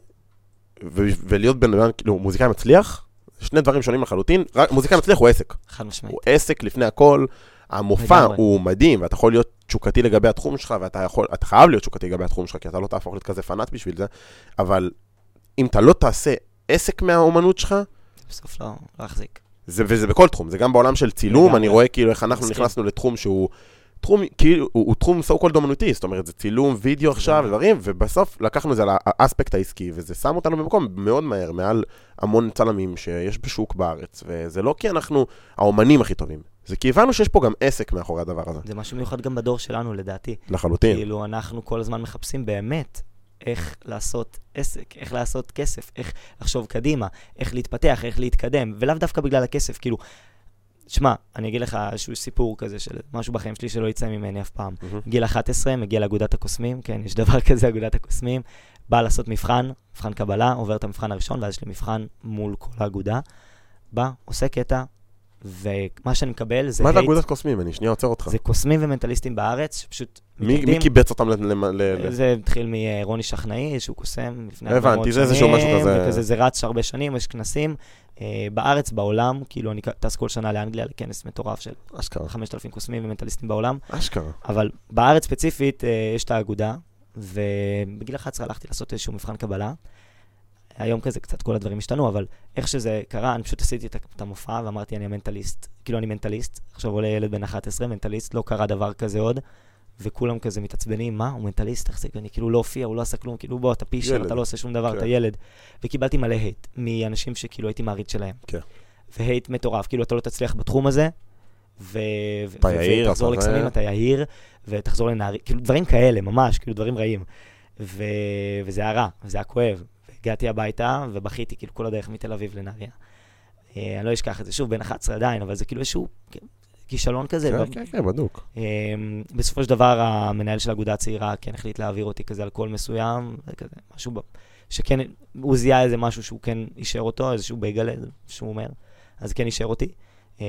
Speaker 2: ו- ולהיות בן אדם, כאילו, מוזיקאי מצליח, שני דברים שונים לחלוטין. רק מוזיקאי מצליח הוא עסק.
Speaker 1: חד משמעית.
Speaker 2: הוא עסק לפני הכל. המופע
Speaker 1: לגמרי.
Speaker 2: הוא מדהים, ואתה יכול להיות תשוקתי לגבי התחום שלך, ואתה יכול, אתה חייב להיות תשוקתי לגבי התחום שלך, כי אתה לא תהפוך להיות כזה פנאט בשביל זה, אבל אם אתה לא תעשה עסק מהאומנות שלך,
Speaker 1: בסוף לא, לא יחזיק.
Speaker 2: זה, וזה בכל תחום, זה גם בעולם של צילום,
Speaker 1: לגמרי.
Speaker 2: אני רואה כאילו איך אנחנו
Speaker 1: מסכים.
Speaker 2: נכנסנו לתחום שהוא, תחום, כאילו, הוא, הוא תחום סו קולד אומנותי, זאת אומרת, זה צילום, וידאו עכשיו, דברים, ובסוף לקחנו את זה לאספקט העסקי, וזה שם אותנו במקום מאוד מהר, מעל המון צלמים שיש בשוק בארץ, וזה לא כי אנחנו האומנים הכי טובים, זה כי הבנו שיש פה גם עסק מאחורי הדבר הזה,
Speaker 1: זה משהו מיוחד גם בדור שלנו, לדעתי.
Speaker 2: לחלוטין.
Speaker 1: כאילו, אנחנו כל הזמן מחפשים באמת איך לעשות עסק, איך לעשות כסף, איך לחשוב קדימה, איך להתפתח, איך להתקדם, ולאו דווקא בגלל הכסף, כאילו... שמע, אני אגיד לך איזשהו סיפור כזה של משהו בחיים שלי שלא יצא ממני אף פעם.
Speaker 2: מהמם.
Speaker 1: גיל 11, מגיע לאגודת הקוסמים, כן, יש דבר כזה, אגודת הקוסמים, בא לעשות מבחן, מבחן קבלה, עובר את המבחן הראשון, ואז יש לי מבחן מול כל האגודה, בא, עושה קטע, ומה שאני מקבל זה
Speaker 2: מה זה
Speaker 1: hate,
Speaker 2: אגודת קוסמים? אני שנייה עוצר אותך.
Speaker 1: זה קוסמים ומנטליסטים בארץ, שפשוט
Speaker 2: מי
Speaker 1: מתאגדים.
Speaker 2: מי קיבץ אותם ל... ל- ל- ל-
Speaker 1: אה, זה התחיל מרוני שכנאי, שהוא קוסם לפני הרבה
Speaker 2: הבנתי,
Speaker 1: מאוד
Speaker 2: זה איזשהו משהו כזה.
Speaker 1: וכזה, זה רץ הרבה שנים, יש כנסים אה, בארץ, בעולם, כאילו אני טס כל שנה לאנגליה לכנס מטורף של
Speaker 2: אשכרה,
Speaker 1: 5,000 קוסמים ומנטליסטים בעולם,
Speaker 2: אשכרה.
Speaker 1: אבל בארץ ספציפית אה, יש את האגודה, ובגיל 11 הלכתי לעשות איזשהו מבחן קבלה. היום כזה קצת כל הדברים השתנו, אבל איך שזה קרה, אני פשוט עשיתי את ה- את המופע ואמרתי, אני המנטליסט. כאילו, אני מנטליסט. עכשיו עולה ילד בן 11, מנטליסט, לא קרה דבר כזה עוד, וכולם כזה מתעצבנים, מה, הוא מנטליסט, איך זה, אני כאילו לא הופיע, הוא לא עשה כלום, כאילו, בוא, אתה פישר,
Speaker 2: ילד.
Speaker 1: אתה לא עושה שום דבר,
Speaker 2: כן.
Speaker 1: אתה ילד. וקיבלתי מלא הייט מאנשים שכאילו הייתי מעריץ שלהם.
Speaker 2: כן.
Speaker 1: והייט מטורף, כאילו, אתה לא תצליח בתחום הזה, ו... ו-
Speaker 2: אתה
Speaker 1: ו-
Speaker 2: יהיר,
Speaker 1: ותחזור
Speaker 2: אתה
Speaker 1: לקסמים,
Speaker 2: זה.
Speaker 1: אתה יהיר, ותחזור לנהרי, כאילו דברים כאלה, ממש, כאילו דברים רעים. ו... וזה היה רע, וזה היה כואב. הגעתי הביתה ובכיתי כאילו כל הדרך מתל אביב לנהריה. אה, אני לא אשכח את זה, שוב, בן 11 עדיין, אבל זה כאילו איזשהו כישלון כזה.
Speaker 2: כן,
Speaker 1: ב-
Speaker 2: כן, כן, בדוק.
Speaker 1: אמ, בסופו של דבר, המנהל של האגודה הצעירה כן החליט להעביר אותי כזה על קול מסוים, וכזה, משהו ב... שכן, הוא זיהה איזה משהו שהוא כן אישר אותו, איזשהו בייגלה, שהוא אומר, אז כן אישר אותי. אה,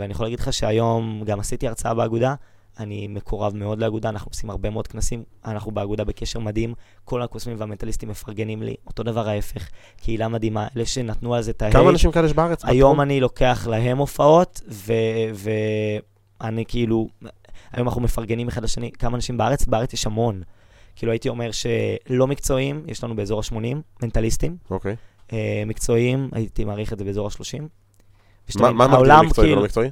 Speaker 1: ואני יכול להגיד לך שהיום גם עשיתי הרצאה באגודה, אני מקורב מאוד לאגודה, אנחנו עושים הרבה מאוד כנסים, אנחנו באגודה בקשר מדהים, כל הקוסמים והמנטליסטים מפרגנים לי, אותו דבר ההפך, קהילה מדהימה, אלה שנתנו על זה את ההי,
Speaker 2: כמה אנשים כאלה יש בארץ?
Speaker 1: אה, היום
Speaker 2: בתחום?
Speaker 1: אני לוקח להם הופעות, ו- ואני כאילו, היום אנחנו מפרגנים אחד לשני, כמה אנשים בארץ? בארץ יש המון. כאילו הייתי אומר שלא מקצועיים, יש לנו באזור ה-80, מנטליסטים,
Speaker 2: אוקיי.
Speaker 1: אה, מקצועיים, הייתי מעריך את זה באזור ה-30.
Speaker 2: מה מה מגדיר מקצועי לא ולא מקצועי?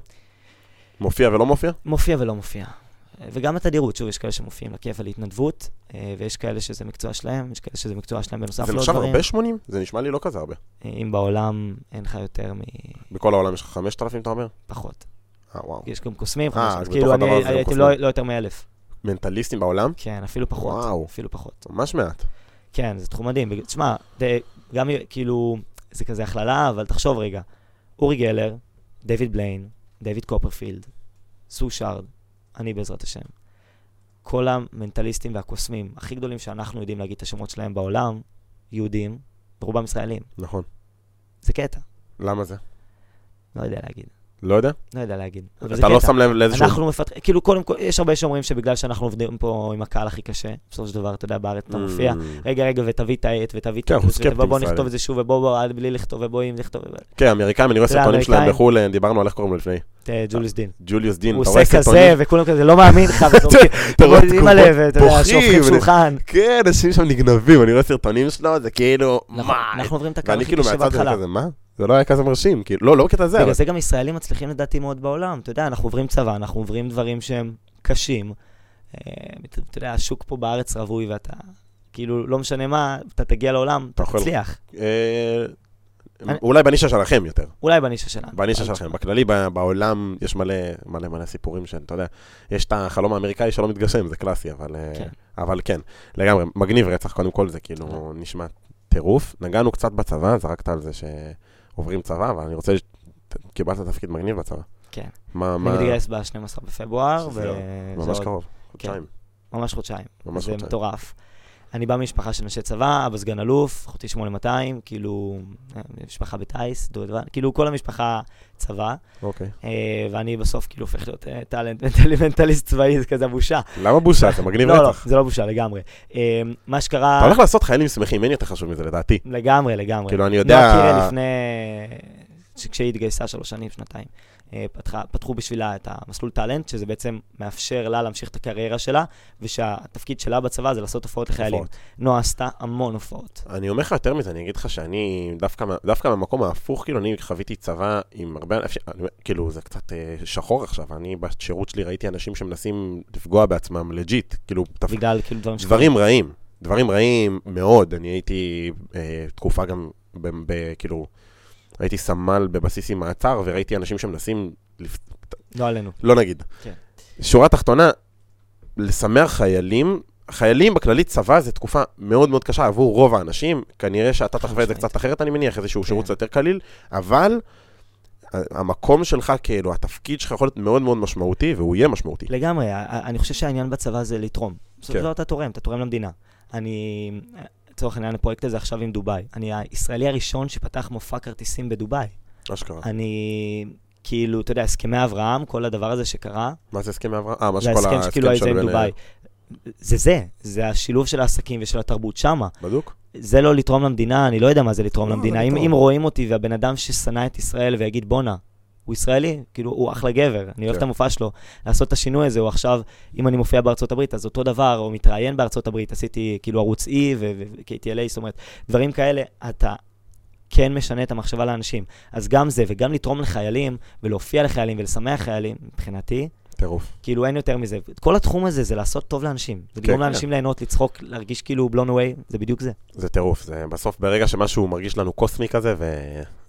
Speaker 2: מופיע ולא מופיע?
Speaker 1: כאילו מופיע ולא מופיע. אה, וגם התדירות, שוב, יש כאלה שמופיעים לכיף על התנדבות, אה, ויש כאלה שזה מקצוע שלהם, יש כאלה שזה מקצוע שלהם בנוסף
Speaker 2: זה
Speaker 1: לעוד
Speaker 2: נחשב
Speaker 1: לא דברים.
Speaker 2: הרבה 80? זה נשמע לי לא כזה הרבה.
Speaker 1: אה, אם בעולם אין לך יותר מפחות.
Speaker 2: בכל העולם יש לך 5,000, אתה אומר? אה, וואו.
Speaker 1: יש גם קוסמים,
Speaker 2: אה,
Speaker 1: חמש-
Speaker 2: אז בתוך
Speaker 1: כאילו אני
Speaker 2: הדבר הזה גם
Speaker 1: הייתי
Speaker 2: קוסמים.
Speaker 1: לא לא יותר מאלף.
Speaker 2: מנטליסטים בעולם?
Speaker 1: כן, אפילו פחות.
Speaker 2: וואו.
Speaker 1: אפילו פחות.
Speaker 2: ממש מעט.
Speaker 1: כן, זה תחום מדהים. בג- תשמע, זה גם כאילו, זה כזה הכללה, אבל תחשוב רגע. אורי גלר, דיוויד בליין, דיוויד קופרפילד, סו שרד, אני בעזרת השם. כל המנטליסטים והקוסמים הכי גדולים שאנחנו יודעים להגיד את השמות שלהם בעולם, יהודים, ברובם ישראלים.
Speaker 2: נכון.
Speaker 1: זה קטע.
Speaker 2: למה זה?
Speaker 1: לא יודע להגיד.
Speaker 2: לא יודע.
Speaker 1: לא יודע להגיד. אבל זה
Speaker 2: אתה לא
Speaker 1: קטע.
Speaker 2: שם לב לאיזשהו...
Speaker 1: אנחנו מפתחים, כאילו קודם כל, יש הרבה שאומרים שבגלל שאנחנו עובדים פה עם הקהל הכי קשה, בסופו של דבר, אתה יודע, בארץ אתה מופיע,
Speaker 2: Mm.
Speaker 1: רגע, רגע, ותביא את העט, ותביא את
Speaker 2: כן, אנחנו
Speaker 1: הכוס,
Speaker 2: סקפטיים
Speaker 1: ובוא בוא
Speaker 2: ישראלים.
Speaker 1: נכתוב את זה שוב, ובוא בוא, עד בלי לכתוב, ובוא אם נכתוב, ו-
Speaker 2: כן, האמריקאים, אני רואה
Speaker 1: אתה יודע,
Speaker 2: סרטונים שלהם
Speaker 1: האמריקאים-
Speaker 2: בחו"ל, אה, דיברנו על איך קוראים לו לפני.
Speaker 1: את אה, ג'וליוס דין.
Speaker 2: ג'וליוס דין,
Speaker 1: הוא
Speaker 2: אתה רואה
Speaker 1: עושה
Speaker 2: סרטונים?
Speaker 1: כזה, וכולם כזה, לא מאמין לך, וזורקים,
Speaker 2: אתה רואה
Speaker 1: מורידים
Speaker 2: תגובות,
Speaker 1: עליו, ואתה יודע,
Speaker 2: בוכים,
Speaker 1: שופכים
Speaker 2: ו-
Speaker 1: שולחן.
Speaker 2: כן, אנשים שם נגנבים, אני רואה סרטונים שלו, זה כאילו,
Speaker 1: נכון,
Speaker 2: מה?
Speaker 1: אנחנו עוברים את הקהל
Speaker 2: ואני
Speaker 1: הכי
Speaker 2: כאילו
Speaker 1: קשה
Speaker 2: מהצד הזה
Speaker 1: בהתחלה.
Speaker 2: כזה, מה? זה לא היה כזה מרשים, כאילו, לא, לא בקטע זה, אבל
Speaker 1: בגלל זה גם ישראלים מצליחים לדעתי מאוד בעולם. אתה יודע, אנחנו עוברים צבא, אנחנו עוברים דברים שהם קשים. אה, אתה אתה יודע, השוק פה בארץ רווי, ואתה, כאילו, לא משנה מה, אתה תגיע לעולם, אתה
Speaker 2: אתה אוכל.
Speaker 1: תצליח.
Speaker 2: אה,
Speaker 1: אני-
Speaker 2: אולי בנישה שלכם יותר,
Speaker 1: אולי בנישה שלנו.
Speaker 2: בנישה
Speaker 1: אבל-
Speaker 2: שלכם. בכללי, ב- בעולם יש מלא מלא מלא סיפורים של, אתה יודע, יש את החלום האמריקאי שלא מתגשם, זה קלאסי, אבל אה,
Speaker 1: כן.
Speaker 2: אבל כן, לגמרי, מגניב רצח, קודם כל זה כאילו נשמע טירוף. נגענו קצת בצבא, זרקת על זה שעוברים צבא, אבל אני רוצה, ש- ת- קיבלת תפקיד מגניב בצבא.
Speaker 1: כן.
Speaker 2: מה,
Speaker 1: אני
Speaker 2: מה,
Speaker 1: מתגייס ב-12 בפברואר,
Speaker 2: שזה עוד-
Speaker 1: וזה
Speaker 2: ממש
Speaker 1: עוד
Speaker 2: קרוב, חודשיים,
Speaker 1: ממש חודשיים.
Speaker 2: ממש
Speaker 1: זה
Speaker 2: חודשיים.
Speaker 1: מטורף. אני בא ממשפחה של אנשי צבא, אבא סגן אלוף, אחותי 8200, כאילו, אה, משפחה בטיס, דודוון, כאילו כל המשפחה צבא,
Speaker 2: אוקיי.
Speaker 1: אה, ואני בסוף כאילו הופך להיות אה, טאלנט, מנטלי- מנטליסט צבאי, זה כזה בושה.
Speaker 2: למה בושה? זה מגניב
Speaker 1: לא, לא,
Speaker 2: רצח.
Speaker 1: זה לא בושה לגמרי. אה, מה
Speaker 2: אתה
Speaker 1: שקרה,
Speaker 2: הולך לעשות חיילים שמחים, אין יותר חשוב מזה לדעתי.
Speaker 1: לגמרי, לגמרי.
Speaker 2: כאילו, אני יודע...
Speaker 1: נועה קירל לפני... ש- כשהיא התגייסה שלוש שנים, שנתיים, אה, פתחה, פתחו בשבילה את המסלול טאלנט, שזה בעצם מאפשר לה להמשיך את הקריירה שלה, ושהתפקיד שלה בצבא זה לעשות הופעות לחיילים.
Speaker 2: הופעות.
Speaker 1: נועה עשתה המון הופעות.
Speaker 2: אני אומר לך יותר מזה, אני אגיד לך שאני, דווקא, מה- דווקא מהמקום ההפוך, כאילו, אני חוויתי צבא עם הרבה, אנשים- אני אומר, כאילו, זה קצת אה, שחור עכשיו, אני בשירות שלי ראיתי אנשים שמנסים לפגוע בעצמם לג'יט, כאילו, תפ...
Speaker 1: בגלל כאילו דברים
Speaker 2: דברים רעים, דברים רעים מאוד, אני הייתי אה, תקופה גם, ב, ב, כאילו, הייתי סמל בבסיס עם מעצר, וראיתי אנשים שמנסים, לפ...
Speaker 1: לא עלינו.
Speaker 2: לא נגיד.
Speaker 1: כן.
Speaker 2: שורה תחתונה, לשמח חיילים, חיילים בכללית צבא זה תקופה מאוד מאוד קשה עבור רוב האנשים, כנראה שאתה תחווה את זה
Speaker 1: משמעית.
Speaker 2: קצת אחרת, אני מניח, איזשהו
Speaker 1: כן.
Speaker 2: שירות קצת יותר קליל, אבל ה- המקום שלך, כאילו, התפקיד שלך יכול להיות מאוד מאוד משמעותי, והוא יהיה משמעותי.
Speaker 1: לגמרי, ה- ה- אני חושב שהעניין בצבא זה לתרום. בסופו
Speaker 2: כן.
Speaker 1: של דבר אתה תורם, אתה תורם למדינה. אני, לצורך העניין, הפרויקט הזה עכשיו עם דובאי. אני הישראלי הראשון שפתח מופע כרטיסים בדובאי.
Speaker 2: אשכרה.
Speaker 1: אני, כאילו, אתה יודע, הסכמי אברהם, כל הדבר הזה שקרה,
Speaker 2: מה זה הסכם אברהם? אה, מה
Speaker 1: זה
Speaker 2: שכל
Speaker 1: ההסכם שכאילו היה
Speaker 2: של
Speaker 1: זה עם
Speaker 2: בין-
Speaker 1: דובאי. זה זה, זה השילוב של העסקים ושל התרבות שמה.
Speaker 2: בדוק?
Speaker 1: זה לא לתרום למדינה, אני לא יודע מה זה לתרום
Speaker 2: לא, זה
Speaker 1: למדינה. אם,
Speaker 2: לתרום.
Speaker 1: אם רואים אותי והבן אדם ששנא את ישראל ויגיד בואנה, הוא ישראלי, כאילו, הוא אחלה גבר, אני אוהב
Speaker 2: כן.
Speaker 1: את המופע שלו. לעשות את השינוי הזה, הוא עכשיו, אם אני מופיע בארצות הברית, אז אותו דבר, או מתראיין בארצות הברית, עשיתי כאילו ערוץ E ו-KTLA, זאת אומרת, דברים כאלה, אתה כן משנה את המחשבה לאנשים. אז גם זה, וגם לתרום לחיילים, ולהופיע לחיילים, ולשמח חיילים, מבחינתי,
Speaker 2: טירוף.
Speaker 1: כאילו אין יותר מזה. כל התחום הזה זה לעשות טוב לאנשים. זה
Speaker 2: כן,
Speaker 1: לגרום
Speaker 2: כן.
Speaker 1: לאנשים ליהנות, לצחוק, להרגיש כאילו blown away, זה בדיוק זה.
Speaker 2: זה טירוף. זה בסוף, ברגע שמשהו מרגיש לנו קוסמי כזה, ו...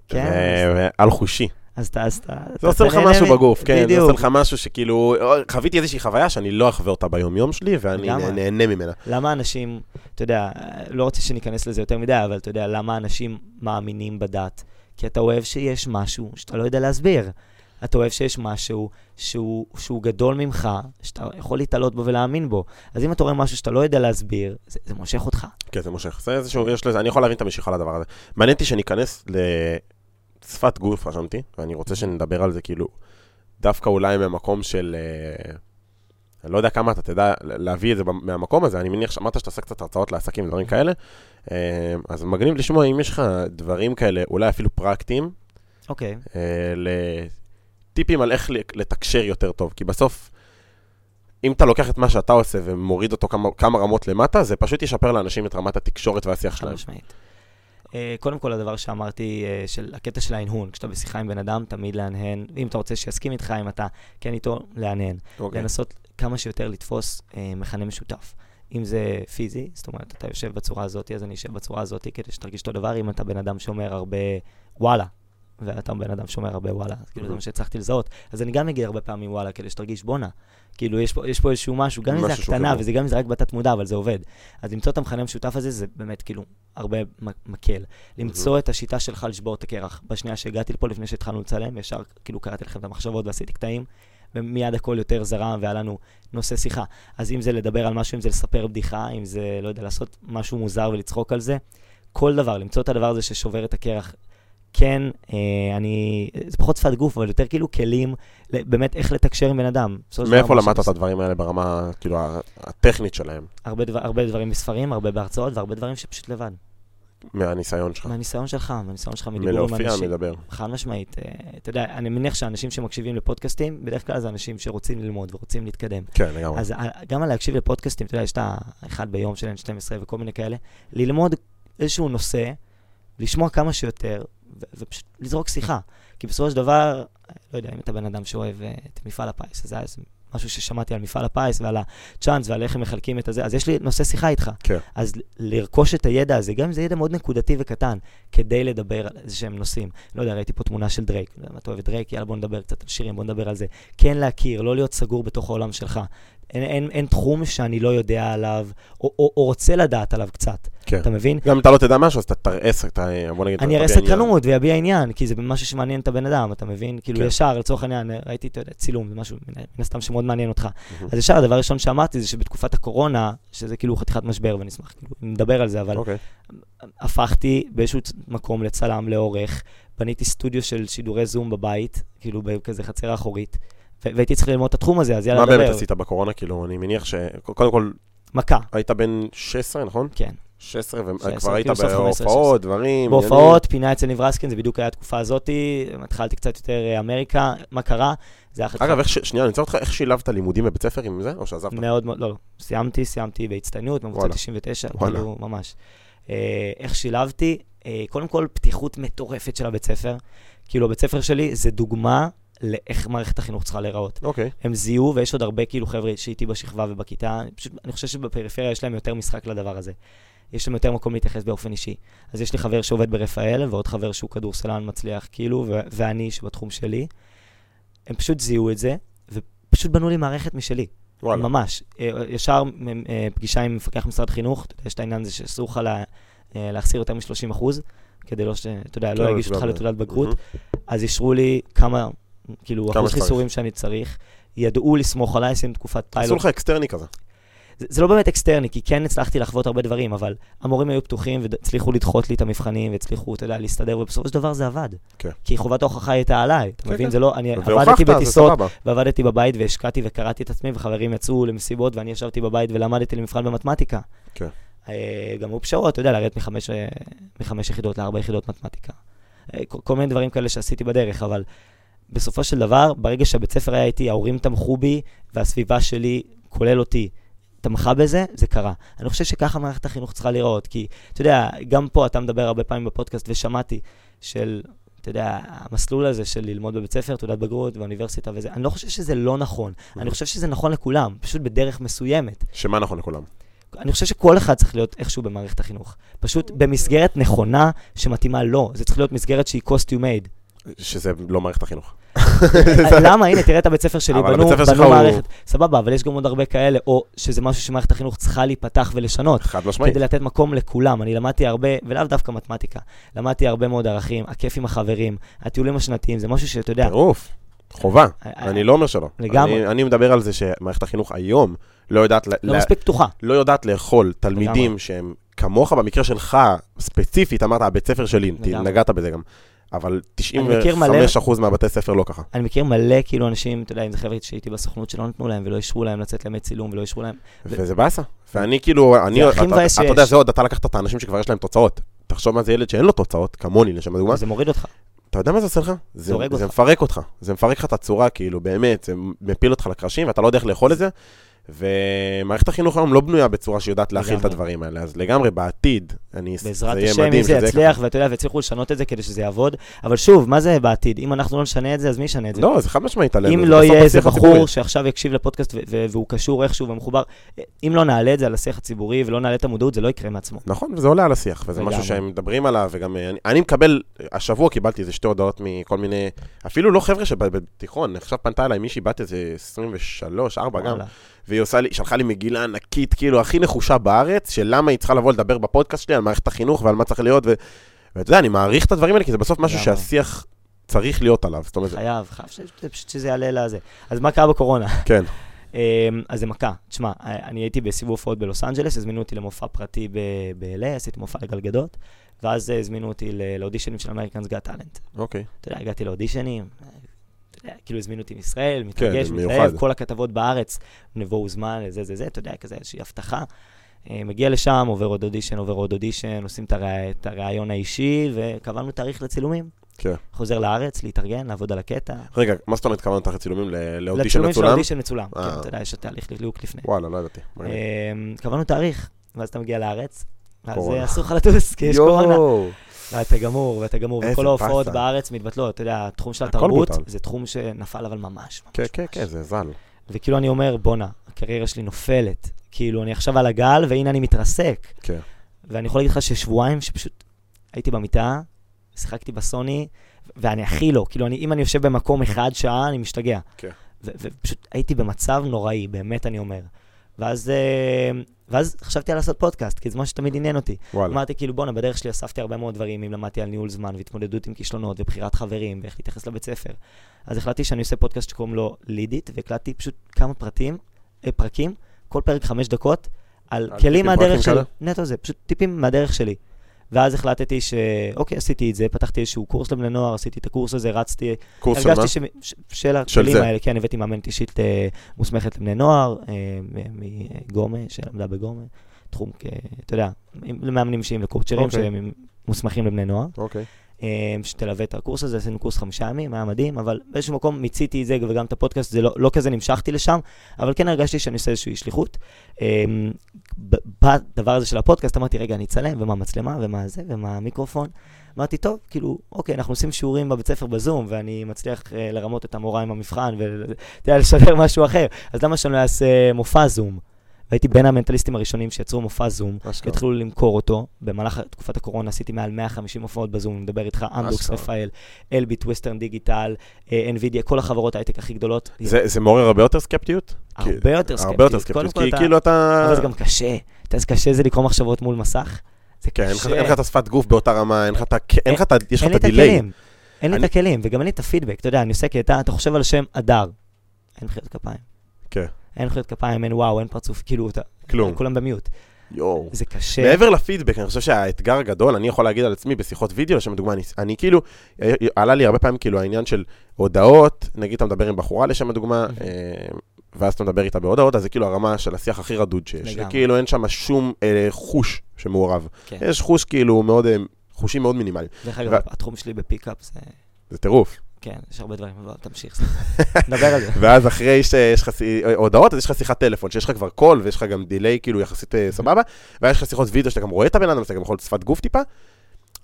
Speaker 1: כן,
Speaker 2: ו- ועל חושי.
Speaker 1: אז אתה, אז אתה...
Speaker 2: זה
Speaker 1: אתה-
Speaker 2: עושה לך
Speaker 1: אתה נהנה
Speaker 2: משהו
Speaker 1: מ-
Speaker 2: בגוף, כן, זה עושה
Speaker 1: בדיוק.
Speaker 2: לך משהו שכאילו, אוי, חוויתי איזושהי חוויה שאני לא אחווה אותה ביום-יום שלי, ואני
Speaker 1: לגמרי.
Speaker 2: נהנה ממנה.
Speaker 1: למה אנשים, אתה יודע, לא רוצה שניכנס לזה יותר מדי, אבל אתה יודע, למה אנשים מאמינים בדת? כי אתה אוהב שיש משהו שאתה לא יודע להסביר. אתה אוהב שיש משהו שהוא, שהוא גדול ממך, שאתה יכול להתעלות בו ולהאמין בו. אז אם אתה רואה משהו שאתה לא יודע להסביר, זה, זה מושך אותך.
Speaker 2: כן, זה מושך. זה איזשהו, יש לזה, אני יכול להבין את המשיכה לדבר הזה. מעניין אותי שניכנס לשפת גוף, רשמתי, ואני רוצה שנדבר על זה כאילו, דווקא אולי מהמקום של... אה, אני לא יודע כמה אתה תדע להביא את זה במ- מהמקום הזה, אני מניח שאמרת שאתה עושה קצת הרצאות לעסקים ודברים כאלה, אה, אז מגניב לשמוע אם יש לך דברים כאלה, אולי אפילו פרקטיים,
Speaker 1: אוקיי.
Speaker 2: אה, לטיפים על איך ל- לתקשר יותר טוב, כי בסוף, אם אתה לוקח את מה שאתה עושה ומוריד אותו כמה, כמה רמות למטה, זה פשוט ישפר לאנשים את רמת התקשורת והשיח
Speaker 1: חד
Speaker 2: שלהם.
Speaker 1: משמעית. אה, קודם כל, הדבר שאמרתי, אה, של הקטע של ההנהון, כשאתה בשיחה עם בן אדם, תמיד להנהן, אם אתה רוצה שיסכים איתך, אם אתה כן איתו, להנהן.
Speaker 2: אוקיי.
Speaker 1: לנסות כמה שיותר לתפוס אה, מכנה משותף. אם זה פיזי, זאת אומרת, אתה יושב בצורה הזאת, אז אני אשב בצורה הזאת, כדי שתרגיש אותו דבר, אם אתה בן אדם שאומר הרבה וואלה, ואתה בן אדם שאומר הרבה וואלה, אז כאילו זה מה שהצלחתי לזהות. אז אני גם אגיד הרבה פעמים וואלה, כדי שתרגיש בואנה. כאילו, יש פה, יש פה איזשהו משהו, גם אם זה
Speaker 2: משהו שהוא
Speaker 1: הקטנה,
Speaker 2: חיבור.
Speaker 1: וזה גם אם זה רק בתת מודע, אבל זה עובד. אז למצוא את המכנה המשותף הזה, זה באמת כאילו הרבה מ- מקל. למצוא את השיטה שלך לשבור את הקרח. בשנייה שהגעתי לפה, לפני שהתחלנו לצלם, ישר כאילו קראתי לכם את המחשבות ועשיתי קטעים, ומיד הכל יותר זרם, והיה לנו נושא שיחה. אז אם זה לדבר על משהו, אם זה לספר בדיחה, אם זה, לא יודע, לעשות משהו מוזר ולצחוק על זה, כל דבר, למצוא את הדבר הזה ששובר את הקרח. כן, אה, אני, זה פחות שפת גוף, אבל יותר כאילו כלים, ל- באמת איך לתקשר עם בן אדם. בסופו של דבר,
Speaker 2: מאיפה
Speaker 1: מה
Speaker 2: למדת
Speaker 1: שאני
Speaker 2: את הדברים האלה ברמה, כאילו, ה- הטכנית שלהם,
Speaker 1: הרבה, דבר, הרבה דברים בספרים, הרבה בהרצאות והרבה דברים שפשוט לבד.
Speaker 2: מהניסיון שלך?
Speaker 1: מהניסיון שלך, מהניסיון שלך מדיבור עם
Speaker 2: מלהופיע,
Speaker 1: אנשים.
Speaker 2: מדבר.
Speaker 1: חד משמעית. אה, אתה יודע, אני מניח שאנשים שמקשיבים לפודקאסטים, בדרך כלל זה אנשים שרוצים ללמוד ורוצים להתקדם.
Speaker 2: כן, לגמרי.
Speaker 1: אז ה- גם על להקשיב לפודקאסטים, אתה יודע, יש את האחד ביום של N12 וכל מיני כאלה, ללמוד איזשהו נושא, לשמוע כמה שיותר, ו- ופשוט לזרוק שיחה. כי בסופו של דבר, לא יודע, אם אתה בן אדם שאוהב אה, את מפעל הפיס, אז זה היה איזה משהו ששמעתי על מפעל הפיס ועל הצ'אנס ועל איך הם מחלקים את הזה, אז יש לי נושא שיחה איתך.
Speaker 2: כן.
Speaker 1: אז ל- לרכוש את הידע הזה, גם אם זה ידע מאוד נקודתי וקטן, כדי לדבר על איזה שהם נושאים. לא יודע, ראיתי פה תמונה של דרייק, לא יודע, אתה אוהב את דרייק, יאללה בוא נדבר קצת על שירים, בוא נדבר על זה. כן להכיר, לא להיות סגור בתוך העולם שלך. אין, אין, אין תחום שאני לא יודע עליו, או, או, או רוצה לדעת עליו קצת,
Speaker 2: כן.
Speaker 1: אתה מבין?
Speaker 2: גם אם אתה לא תדע משהו, אז אתה תראה, סק- אתה- בוא נגיד,
Speaker 1: אני אראה
Speaker 2: אתה תביע עניין.
Speaker 1: סקרנות ויביע עניין, כי זה משהו שמעניין את הבן אדם, אתה מבין? כאילו
Speaker 2: כן.
Speaker 1: ישר, לצורך העניין, ראיתי, אתה יודע, צילום, זה משהו מן מן הסתם שמאוד מעניין אותך.
Speaker 2: מהמם.
Speaker 1: אז ישר, הדבר הראשון שאמרתי זה שבתקופת הקורונה, שזה כאילו חתיכת משבר, ואני אשמח כאילו נדבר על זה, אבל
Speaker 2: אוקיי.
Speaker 1: הפכתי באיזשהו צ- מקום לצלם, לעורך, בניתי סטודיו של שידורי זום בבית, כאילו בכזה חצר האחורית, ו- והייתי צריך ללמוד את התחום הזה, אז יאללה,
Speaker 2: מה
Speaker 1: נדבר.
Speaker 2: באמת עשית בקורונה? כאילו, אני מניח ש... קודם כל,
Speaker 1: מכה,
Speaker 2: היית בן 16, נכון?
Speaker 1: כן.
Speaker 2: 16,
Speaker 1: 16,
Speaker 2: וכבר היית
Speaker 1: כאילו סוף 15,
Speaker 2: בהופעות, דברים.
Speaker 1: בהופעות, פינה אצל ניב רסקין, זה בדיוק היה התקופה הזאתי, התחלתי קצת יותר אה, אמריקה, מה קרה? זה היה חתיכת-
Speaker 2: אגב, איך ש- שנייה, אני רוצה אותך, איך שילבת לימודים בבית ספר עם זה, או שעזבת?
Speaker 1: מאוד מאוד, לא, לא. סיימתי, סיימתי בהצטיינות, ממוצע
Speaker 2: וואלה.
Speaker 1: 99,
Speaker 2: וואלה.
Speaker 1: כאילו, ממש. אה, איך שילבתי? אה, קודם כל, פתיחות מטורפת של הבית ספר. כאילו, הבית ספר שלי זה דוגמה לאיך מערכת החינוך צריכה להיראות.
Speaker 2: אוקיי.
Speaker 1: הם זיהו, ויש עוד הרבה כאילו חבר'ה שאיתי בשכבה ובכיתה, אני פשוט, אני חושב שבפריפריה יש להם יותר משחק לדבר הזה. יש להם יותר מקום להתייחס באופן אישי. אז יש לי חבר שעובד ברפאל, ועוד חבר שהוא כדורסלן מצליח, כאילו, ו- ואני שבתחום שלי. הם פשוט זיהו את זה, ופשוט בנו לי מערכת משלי.
Speaker 2: וואלה.
Speaker 1: ממש. אה, ישר מ- אה, פגישה עם מפקח משרד חינוך, אתה יודע, יש את העניין הזה שאסור לך לה- אה, להחסיר יותר מ-30 אחוז, כדי לא ש... אתה יודע,
Speaker 2: לא
Speaker 1: לא יגישו
Speaker 2: לפגוע
Speaker 1: אותך
Speaker 2: בהם.
Speaker 1: לתעודת בגרות.
Speaker 2: מהמם.
Speaker 1: אז אישרו לי כמה, כאילו,
Speaker 2: כמה
Speaker 1: אחוז
Speaker 2: שצריך.
Speaker 1: חיסורים שאני צריך. ידעו לסמוך עליי, עשינו תקופת
Speaker 2: עשו
Speaker 1: פיילוט.
Speaker 2: לך אקסטרני כזה.
Speaker 1: זה, זה לא באמת אקסטרני, כי כן הצלחתי לחוות הרבה דברים, אבל המורים היו פתוחים והצליחו לדחות לי את המבחנים, והצליחו, אתה יודע, להסתדר, ובסופו של דבר זה עבד.
Speaker 2: כן.
Speaker 1: כי חובת ההוכחה הייתה עליי, אתה
Speaker 2: כן,
Speaker 1: מבין?
Speaker 2: כן.
Speaker 1: זה לא, אני
Speaker 2: והוכחת,
Speaker 1: עבדתי
Speaker 2: זה
Speaker 1: בטיסות,
Speaker 2: סבבה.
Speaker 1: ועבדתי בבית והשקעתי וקראתי את עצמי, וחברים יצאו למסיבות, ואני ישבתי בבית ולמדתי למבחן במתמטיקה.
Speaker 2: כן.
Speaker 1: אה, גם היו פשרות, אתה יודע, לרדת מחמש, אה, מחמש יחידות לארבע יחידות מתמטיקה. אה, כל, כל מיני דברים כאלה שעשיתי בדרך, אבל בסופו של דבר, ברגע שהבית ספר היה איתי, ההורים תמכו בי, והסביבה שלי, כולל אותי, תמכה בזה, זה קרה. אני חושב שככה מערכת החינוך צריכה להיראות, כי, אתה יודע, גם פה אתה מדבר הרבה פעמים בפודקאסט, ושמעתי, של, אתה יודע, המסלול הזה של ללמוד בבית ספר, תעודת בגרות ואוניברסיטה וזה, אני לא חושב שזה לא נכון.
Speaker 2: אוקיי.
Speaker 1: אני חושב שזה נכון לכולם, פשוט בדרך מסוימת.
Speaker 2: שמה נכון לכולם?
Speaker 1: אני חושב שכל אחד צריך להיות איכשהו במערכת החינוך. פשוט במסגרת נכונה שמתאימה לו. זה צריך להיות מסגרת שהיא cost you made.
Speaker 2: שזה לא מערכת החינוך.
Speaker 1: למה? הנה, תראה את הבית ספר שלי,
Speaker 2: אבל
Speaker 1: בנו
Speaker 2: הבית ספר
Speaker 1: בנו
Speaker 2: שלך הוא-
Speaker 1: מערכת. סבבה, אבל יש גם עוד הרבה כאלה, או שזה משהו שמערכת החינוך צריכה להיפתח ולשנות.
Speaker 2: חד משמעית.
Speaker 1: כדי לתת מקום לכולם. אני למדתי הרבה, ולאו דווקא מתמטיקה, למדתי הרבה מאוד ערכים, הכיף עם החברים, הטיולים השנתיים, זה משהו שאתה יודע,
Speaker 2: טירוף. חובה.
Speaker 1: אה,
Speaker 2: אני לא אומר שלא.
Speaker 1: לגמרי.
Speaker 2: אני- אני מדבר על זה שמערכת החינוך היום לא יודעת ל-
Speaker 1: לא
Speaker 2: ל-
Speaker 1: מספיק פתוחה.
Speaker 2: לא יודעת לאכול תלמידים
Speaker 1: לגמרי.
Speaker 2: שהם כמוך, במקרה שלך, ספציפית, אמרת, הבית ספר שלי, ת-
Speaker 1: לגמרי.
Speaker 2: נגעת בזה גם. אבל
Speaker 1: אני מכיר מלא-
Speaker 2: 95% מהבתי ספר לא ככה.
Speaker 1: אני מכיר מלא כאילו אנשים, אתה יודע, אם זה חבר'ה שהייתי בסוכנות שלא נתנו להם ולא אישרו להם לצאת לימי צילום ולא אישרו להם. ו-
Speaker 2: וזה באסה. ואני כאילו, אני,
Speaker 1: הכי
Speaker 2: אתה-
Speaker 1: מבאס
Speaker 2: אתה יודע,
Speaker 1: שיש.
Speaker 2: זה עוד, אתה לקחת את האנשים שכבר יש להם תוצאות. תחשוב מה זה ילד שאין לו תוצאות, כמוני, לשם הדוגמה.
Speaker 1: זה מוריד אותך.
Speaker 2: אתה יודע מה זה עושה לך? זה,
Speaker 1: הורג
Speaker 2: זה
Speaker 1: אותך.
Speaker 2: מפרק אותך. זה מפרק לך את הצורה, כאילו, באמת, זה מפיל אותך לקרשים, ואתה לא יודע איך לאכול את זה. ומערכת החינוך היום לא בנויה בצורה שיודעת להכיל את
Speaker 1: לגמרי.
Speaker 2: הדברים האלה, אז לגמרי, בעתד, אני...
Speaker 1: בעזרת
Speaker 2: זה יהיה
Speaker 1: השם, אם
Speaker 2: מדהים
Speaker 1: זה
Speaker 2: שזה יהיה
Speaker 1: יצליח, ואתה יודע, ויצליחו לשנות את זה כדי שזה יעבוד. אבל שוב, מה זה בעתיד? אם אנחנו לא נשנה את זה, אז מי ישנה את זה?
Speaker 2: לא, זה חד משמעית עלינו.
Speaker 1: אם
Speaker 2: זה
Speaker 1: לא
Speaker 2: בסוף
Speaker 1: יהיה איזה
Speaker 2: השיח הציבורי.
Speaker 1: בחור שעכשיו יקשיב לפודקאסט ו- ו- והוא קשור איכשהו ומחובר, אם לא נעלה את זה על השיח הציבורי ולא נעלה את המודעות, זה לא יקרה מעצמו.
Speaker 2: נכון, וזה עולה על השיח, וזה משהו
Speaker 1: לגמרי.
Speaker 2: שהם מדברים עליו, וגם אה, אני, אני מקבל, השבוע קיבלתי איזה שתי הודעות מכל מיני, אפילו לא חבר'ה שבתיכון, עכשיו פנתה אליי מישהי בת איזה 23, 4 גם,
Speaker 1: וואלה.
Speaker 2: והיא עושה לי, שלחה לי מגילה ענקית, כאילו, הכי נחושה בארץ, של למה היא צריכה לבוא לדבר בפודקאסט שלי על מערכת החינוך ועל מה צריך להיות, ו... ואתה יודע, אני מעריך את הדברים האלה, כי זה בסוף משהו
Speaker 1: לגמרי.
Speaker 2: שהשיח צריך להיות עליו, זאת אומרת,
Speaker 1: חייב, חייב ש- ש- פשוט שזה יעלה לזה. אז מה קרה בקורונה?
Speaker 2: כן,
Speaker 1: אמ, אז זה מכה. תשמע, אני הייתי בסיבוב הופעות בלוס אנג'לס, הזמינו אותי למופע פרטי ב- ב-LA, עשיתי מופע לגלגדות, ואז אה, הזמינו אותי ל- לאודישנים של אמריקאנס גאט טאלנט.
Speaker 2: אוקיי.
Speaker 1: אתה יודע, הגעתי לאודישנים, אה, אתה יודע, כאילו הזמינו אותי מישראל, מתרגש,
Speaker 2: כן, זה
Speaker 1: מתלהב,
Speaker 2: מיוחד.
Speaker 1: כל הכתבות בארץ, נבואו זמן, זה, זה, זה, אתה יודע, כזה איזושהי הבטחה. אה, מגיע לשם, עובר עוד אודישן, עובר עוד אודישן, עושים את הרי- את הריאיון האישי, וקבענו תאריך לצילומים.
Speaker 2: כן.
Speaker 1: חוזר לארץ, להתארגן, לעבוד על הקטע.
Speaker 2: רגע, מה זאת אומרת כמה נתח צילומים ל- לאודישן
Speaker 1: לצילומים של
Speaker 2: מצולם?
Speaker 1: האודישן מצולם. כן,
Speaker 2: אה.
Speaker 1: אתה יודע, יש תהליך ליהוק לפני.
Speaker 2: וואלה, לא ידעתי. מגניב.
Speaker 1: אמ, קבענו תאריך, ואז אתה מגיע לארץ, אז
Speaker 2: קורונה.
Speaker 1: אה, אסור לך לטוס, כי יש קורונה.
Speaker 2: יואו.
Speaker 1: ואתה גמור, ואתה גמור,
Speaker 2: איזה
Speaker 1: וכל ההופעות
Speaker 2: באסה.
Speaker 1: בארץ מתבטלות. אתה יודע, התחום של
Speaker 2: הכל
Speaker 1: התרבות,
Speaker 2: בוטל.
Speaker 1: זה תחום שנפל אבל ממש. ממש,
Speaker 2: כן, כן,
Speaker 1: ממש.
Speaker 2: כן, זה ז"ל.
Speaker 1: וכאילו אני אומר, בואנה, הקריירה שלי נופלת. כאילו, אני עכשיו על הגל, והנה אני מתרסק.
Speaker 2: כן.
Speaker 1: ואני יכול להגיד לך ששבועיים שפשוט הייתי במיטה, שיחקתי בסוני, ואני הכי לא, כאילו, אני, אם אני יושב במקום אחד שעה, אני משתגע.
Speaker 2: כן.
Speaker 1: ו- ופשוט הייתי במצב נוראי, באמת אני אומר. ואז, אה, ואז חשבתי על לעשות פודקאסט, כי זה משהו שתמיד עניין אותי.
Speaker 2: וואלה.
Speaker 1: אמרתי, כאילו, בואנה, בדרך שלי אספתי הרבה מאוד דברים, אם למדתי על ניהול זמן והתמודדות עם כישלונות ובחירת חברים ואיך להתייחס לבית ספר. אז החלטתי שאני עושה פודקאסט שקוראים לו לידית, והקלטתי פשוט כמה פרטים, אה, פרקים, כל פרק חמש דקות, על
Speaker 2: על אה, טיפים
Speaker 1: כלים מהדרך
Speaker 2: פרקטיים
Speaker 1: שלי.
Speaker 2: כאלה?
Speaker 1: נטו זה, פשוט טיפים מהדרך שלי. ואז החלטתי ש... אוקיי, עשיתי את זה, פתחתי איזשהו קורס לבני נוער, עשיתי את הקורס הזה, רצתי,
Speaker 2: קורס של מה?
Speaker 1: הרגשתי שמ- ש- של הכלים
Speaker 2: זה.
Speaker 1: האלה, כן, הבאתי מאמנת אישית אה, מוסמכת לבני נוער, אה, מ- מגומה, שלמדה בגומה, תחום, כ- אתה יודע, עם- למאמנים אישיים וקורצ'רים
Speaker 2: אוקיי.
Speaker 1: שהם מוסמכים לבני נוער,
Speaker 2: אוקיי.
Speaker 1: אה, שתלווה את הקורס הזה, עשינו קורס חמישה ימים, היה מדהים, אבל באיזשהו מקום מיציתי את זה וגם את הפודקאסט, זה לא, לא כזה נמשכתי לשם, אבל כן הרגשתי שאני עושה איזושהי שליחות. אה, ב- בדבר הזה של הפודקאסט אמרתי, רגע, אני אצלם, ומה המצלמה, ומה זה, ומה המיקרופון. אמרתי, טוב, כאילו, אוקיי, אנחנו עושים שיעורים בבית ספר בזום, ואני מצליח אה, לרמות את המורה עם המבחן, ואתה יודע, לשדר משהו אחר, אז למה שאני לא אעשה מופע זום? והייתי בין המנטליסטים הראשונים שיצרו מופע זום,
Speaker 2: אשכרה.
Speaker 1: התחילו למכור אותו. במהלך תקופת הקורונה עשיתי מעל 150 הופעות בזום, אני מדבר איתך, אמדוקס,
Speaker 2: אשכרה.
Speaker 1: רפאל, אלביט, ווסטרן דיגיטל, אה, NVIDIA, כל החברות ההייטק הכי גדולות.
Speaker 2: זה זה מעורר הרבה יותר סקפטיות? כי-
Speaker 1: הרבה יותר סקפטיות.
Speaker 2: הרבה יותר
Speaker 1: קודם
Speaker 2: סקפטיות,
Speaker 1: כל
Speaker 2: כי
Speaker 1: אתה-
Speaker 2: כאילו אתה...
Speaker 1: אבל זה גם קשה. אתה יודע, קשה זה לקרוא מחשבות מול מסך. זה
Speaker 2: כן,
Speaker 1: קשה.
Speaker 2: אין לך- אין לך את השפת גוף באותה רמה, אין לך את ה... אין לך את ה... יש לך
Speaker 1: אין
Speaker 2: את
Speaker 1: לי את
Speaker 2: הדיליי.
Speaker 1: הכלים. אין לי את
Speaker 2: אני-
Speaker 1: הכלים, וגם אין לי את הפידבק. אתה יודע, אני עושה קטע, אתה חושב על שם הדר. אין מחיאות כפיים.
Speaker 2: כן.
Speaker 1: אין מחיאות כפיים, אין וואו, אין פרצוף, כאילו, אתה-
Speaker 2: כלום.
Speaker 1: כולם במיוט.
Speaker 2: יואו.
Speaker 1: זה קשה.
Speaker 2: מעבר לפידבק, אני חושב שהאתגר הגדול, אני יכול להגיד על עצמי בשיחות וידאו, לשם דוגמה, אני, אני כאילו, אה, עלה לי הרבה פעמים כאילו העניין של הודעות, נגיד אתה מדבר עם בחורה לשם הדוגמה,
Speaker 1: Mhm.
Speaker 2: אה, ואז אתה מדבר איתה בהודעות, אז זה כאילו הרמה של השיח הכי רדוד שיש.
Speaker 1: לגמרי.
Speaker 2: כאילו אין שם שום אה, חוש שמעורב.
Speaker 1: כן.
Speaker 2: יש חוש כאילו מאוד, אה, חושים מאוד מינימליים.
Speaker 1: דרך אגב,
Speaker 2: ו-
Speaker 1: התחום שלי בפיקאפ זה...
Speaker 2: זה טירוף.
Speaker 1: כן, יש הרבה דברים, אבל תמשיך, סליחה. נדבר על זה.
Speaker 2: ואז אחרי שיש לך סי- הודעות, אז יש לך שיחת טלפון, שיש לך כבר קול, ויש לך גם דיליי כאילו יחסית אה, סבבה, ואז יש לך שיחות וידאו שאתה גם רואה את הבן אדם, אז אתה גם יכול להיות שפת גוף טיפה,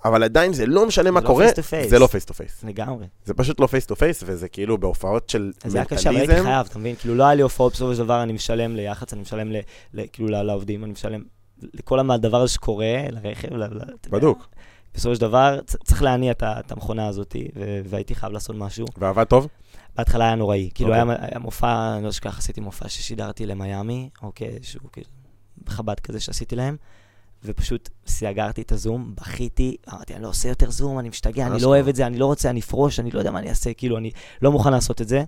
Speaker 2: אבל עדיין זה לא משנה מה
Speaker 1: לא
Speaker 2: קורה,
Speaker 1: face to face.
Speaker 2: זה לא פייס טו פייס.
Speaker 1: לגמרי.
Speaker 2: זה פשוט לא פייס טו פייס, וזה כאילו בהופעות של
Speaker 1: אז זה היה קשה, אבל הייתי
Speaker 2: מנטליזם.
Speaker 1: חייב, אתה מבין? כאילו, לא היה לי הופעות בסופו של דבר, אני משלם ליח"צ, אני משלם ל- ל- כאילו ל- לעובדים, אני משלם לכל הדבר הזה שקורה, לרכב, ל- ל- אתה יודע.
Speaker 2: בדוק.
Speaker 1: בסופו של דבר, צ- צריך להניע את ה- את המכונה הזאת, ו- והייתי חייב לעשות משהו.
Speaker 2: ועבד טוב?
Speaker 1: בהתחלה היה נוראי. כאילו,
Speaker 2: אוקיי.
Speaker 1: היה, היה מופע, אני לא אשכח, עשיתי מופע ששידרתי למיאמי, אוקיי, שהוא כאילו חב"ד כזה שעשיתי להם, ופשוט סגרתי את הזום, בכיתי, אמרתי, אני לא עושה יותר זום, אני משתגע, אני לא
Speaker 2: אשכרה.
Speaker 1: אוהב את זה, אני לא רוצה, אני אפרוש, אני לא יודע מה אני אעשה, כאילו, אני לא מוכן לעשות את זה.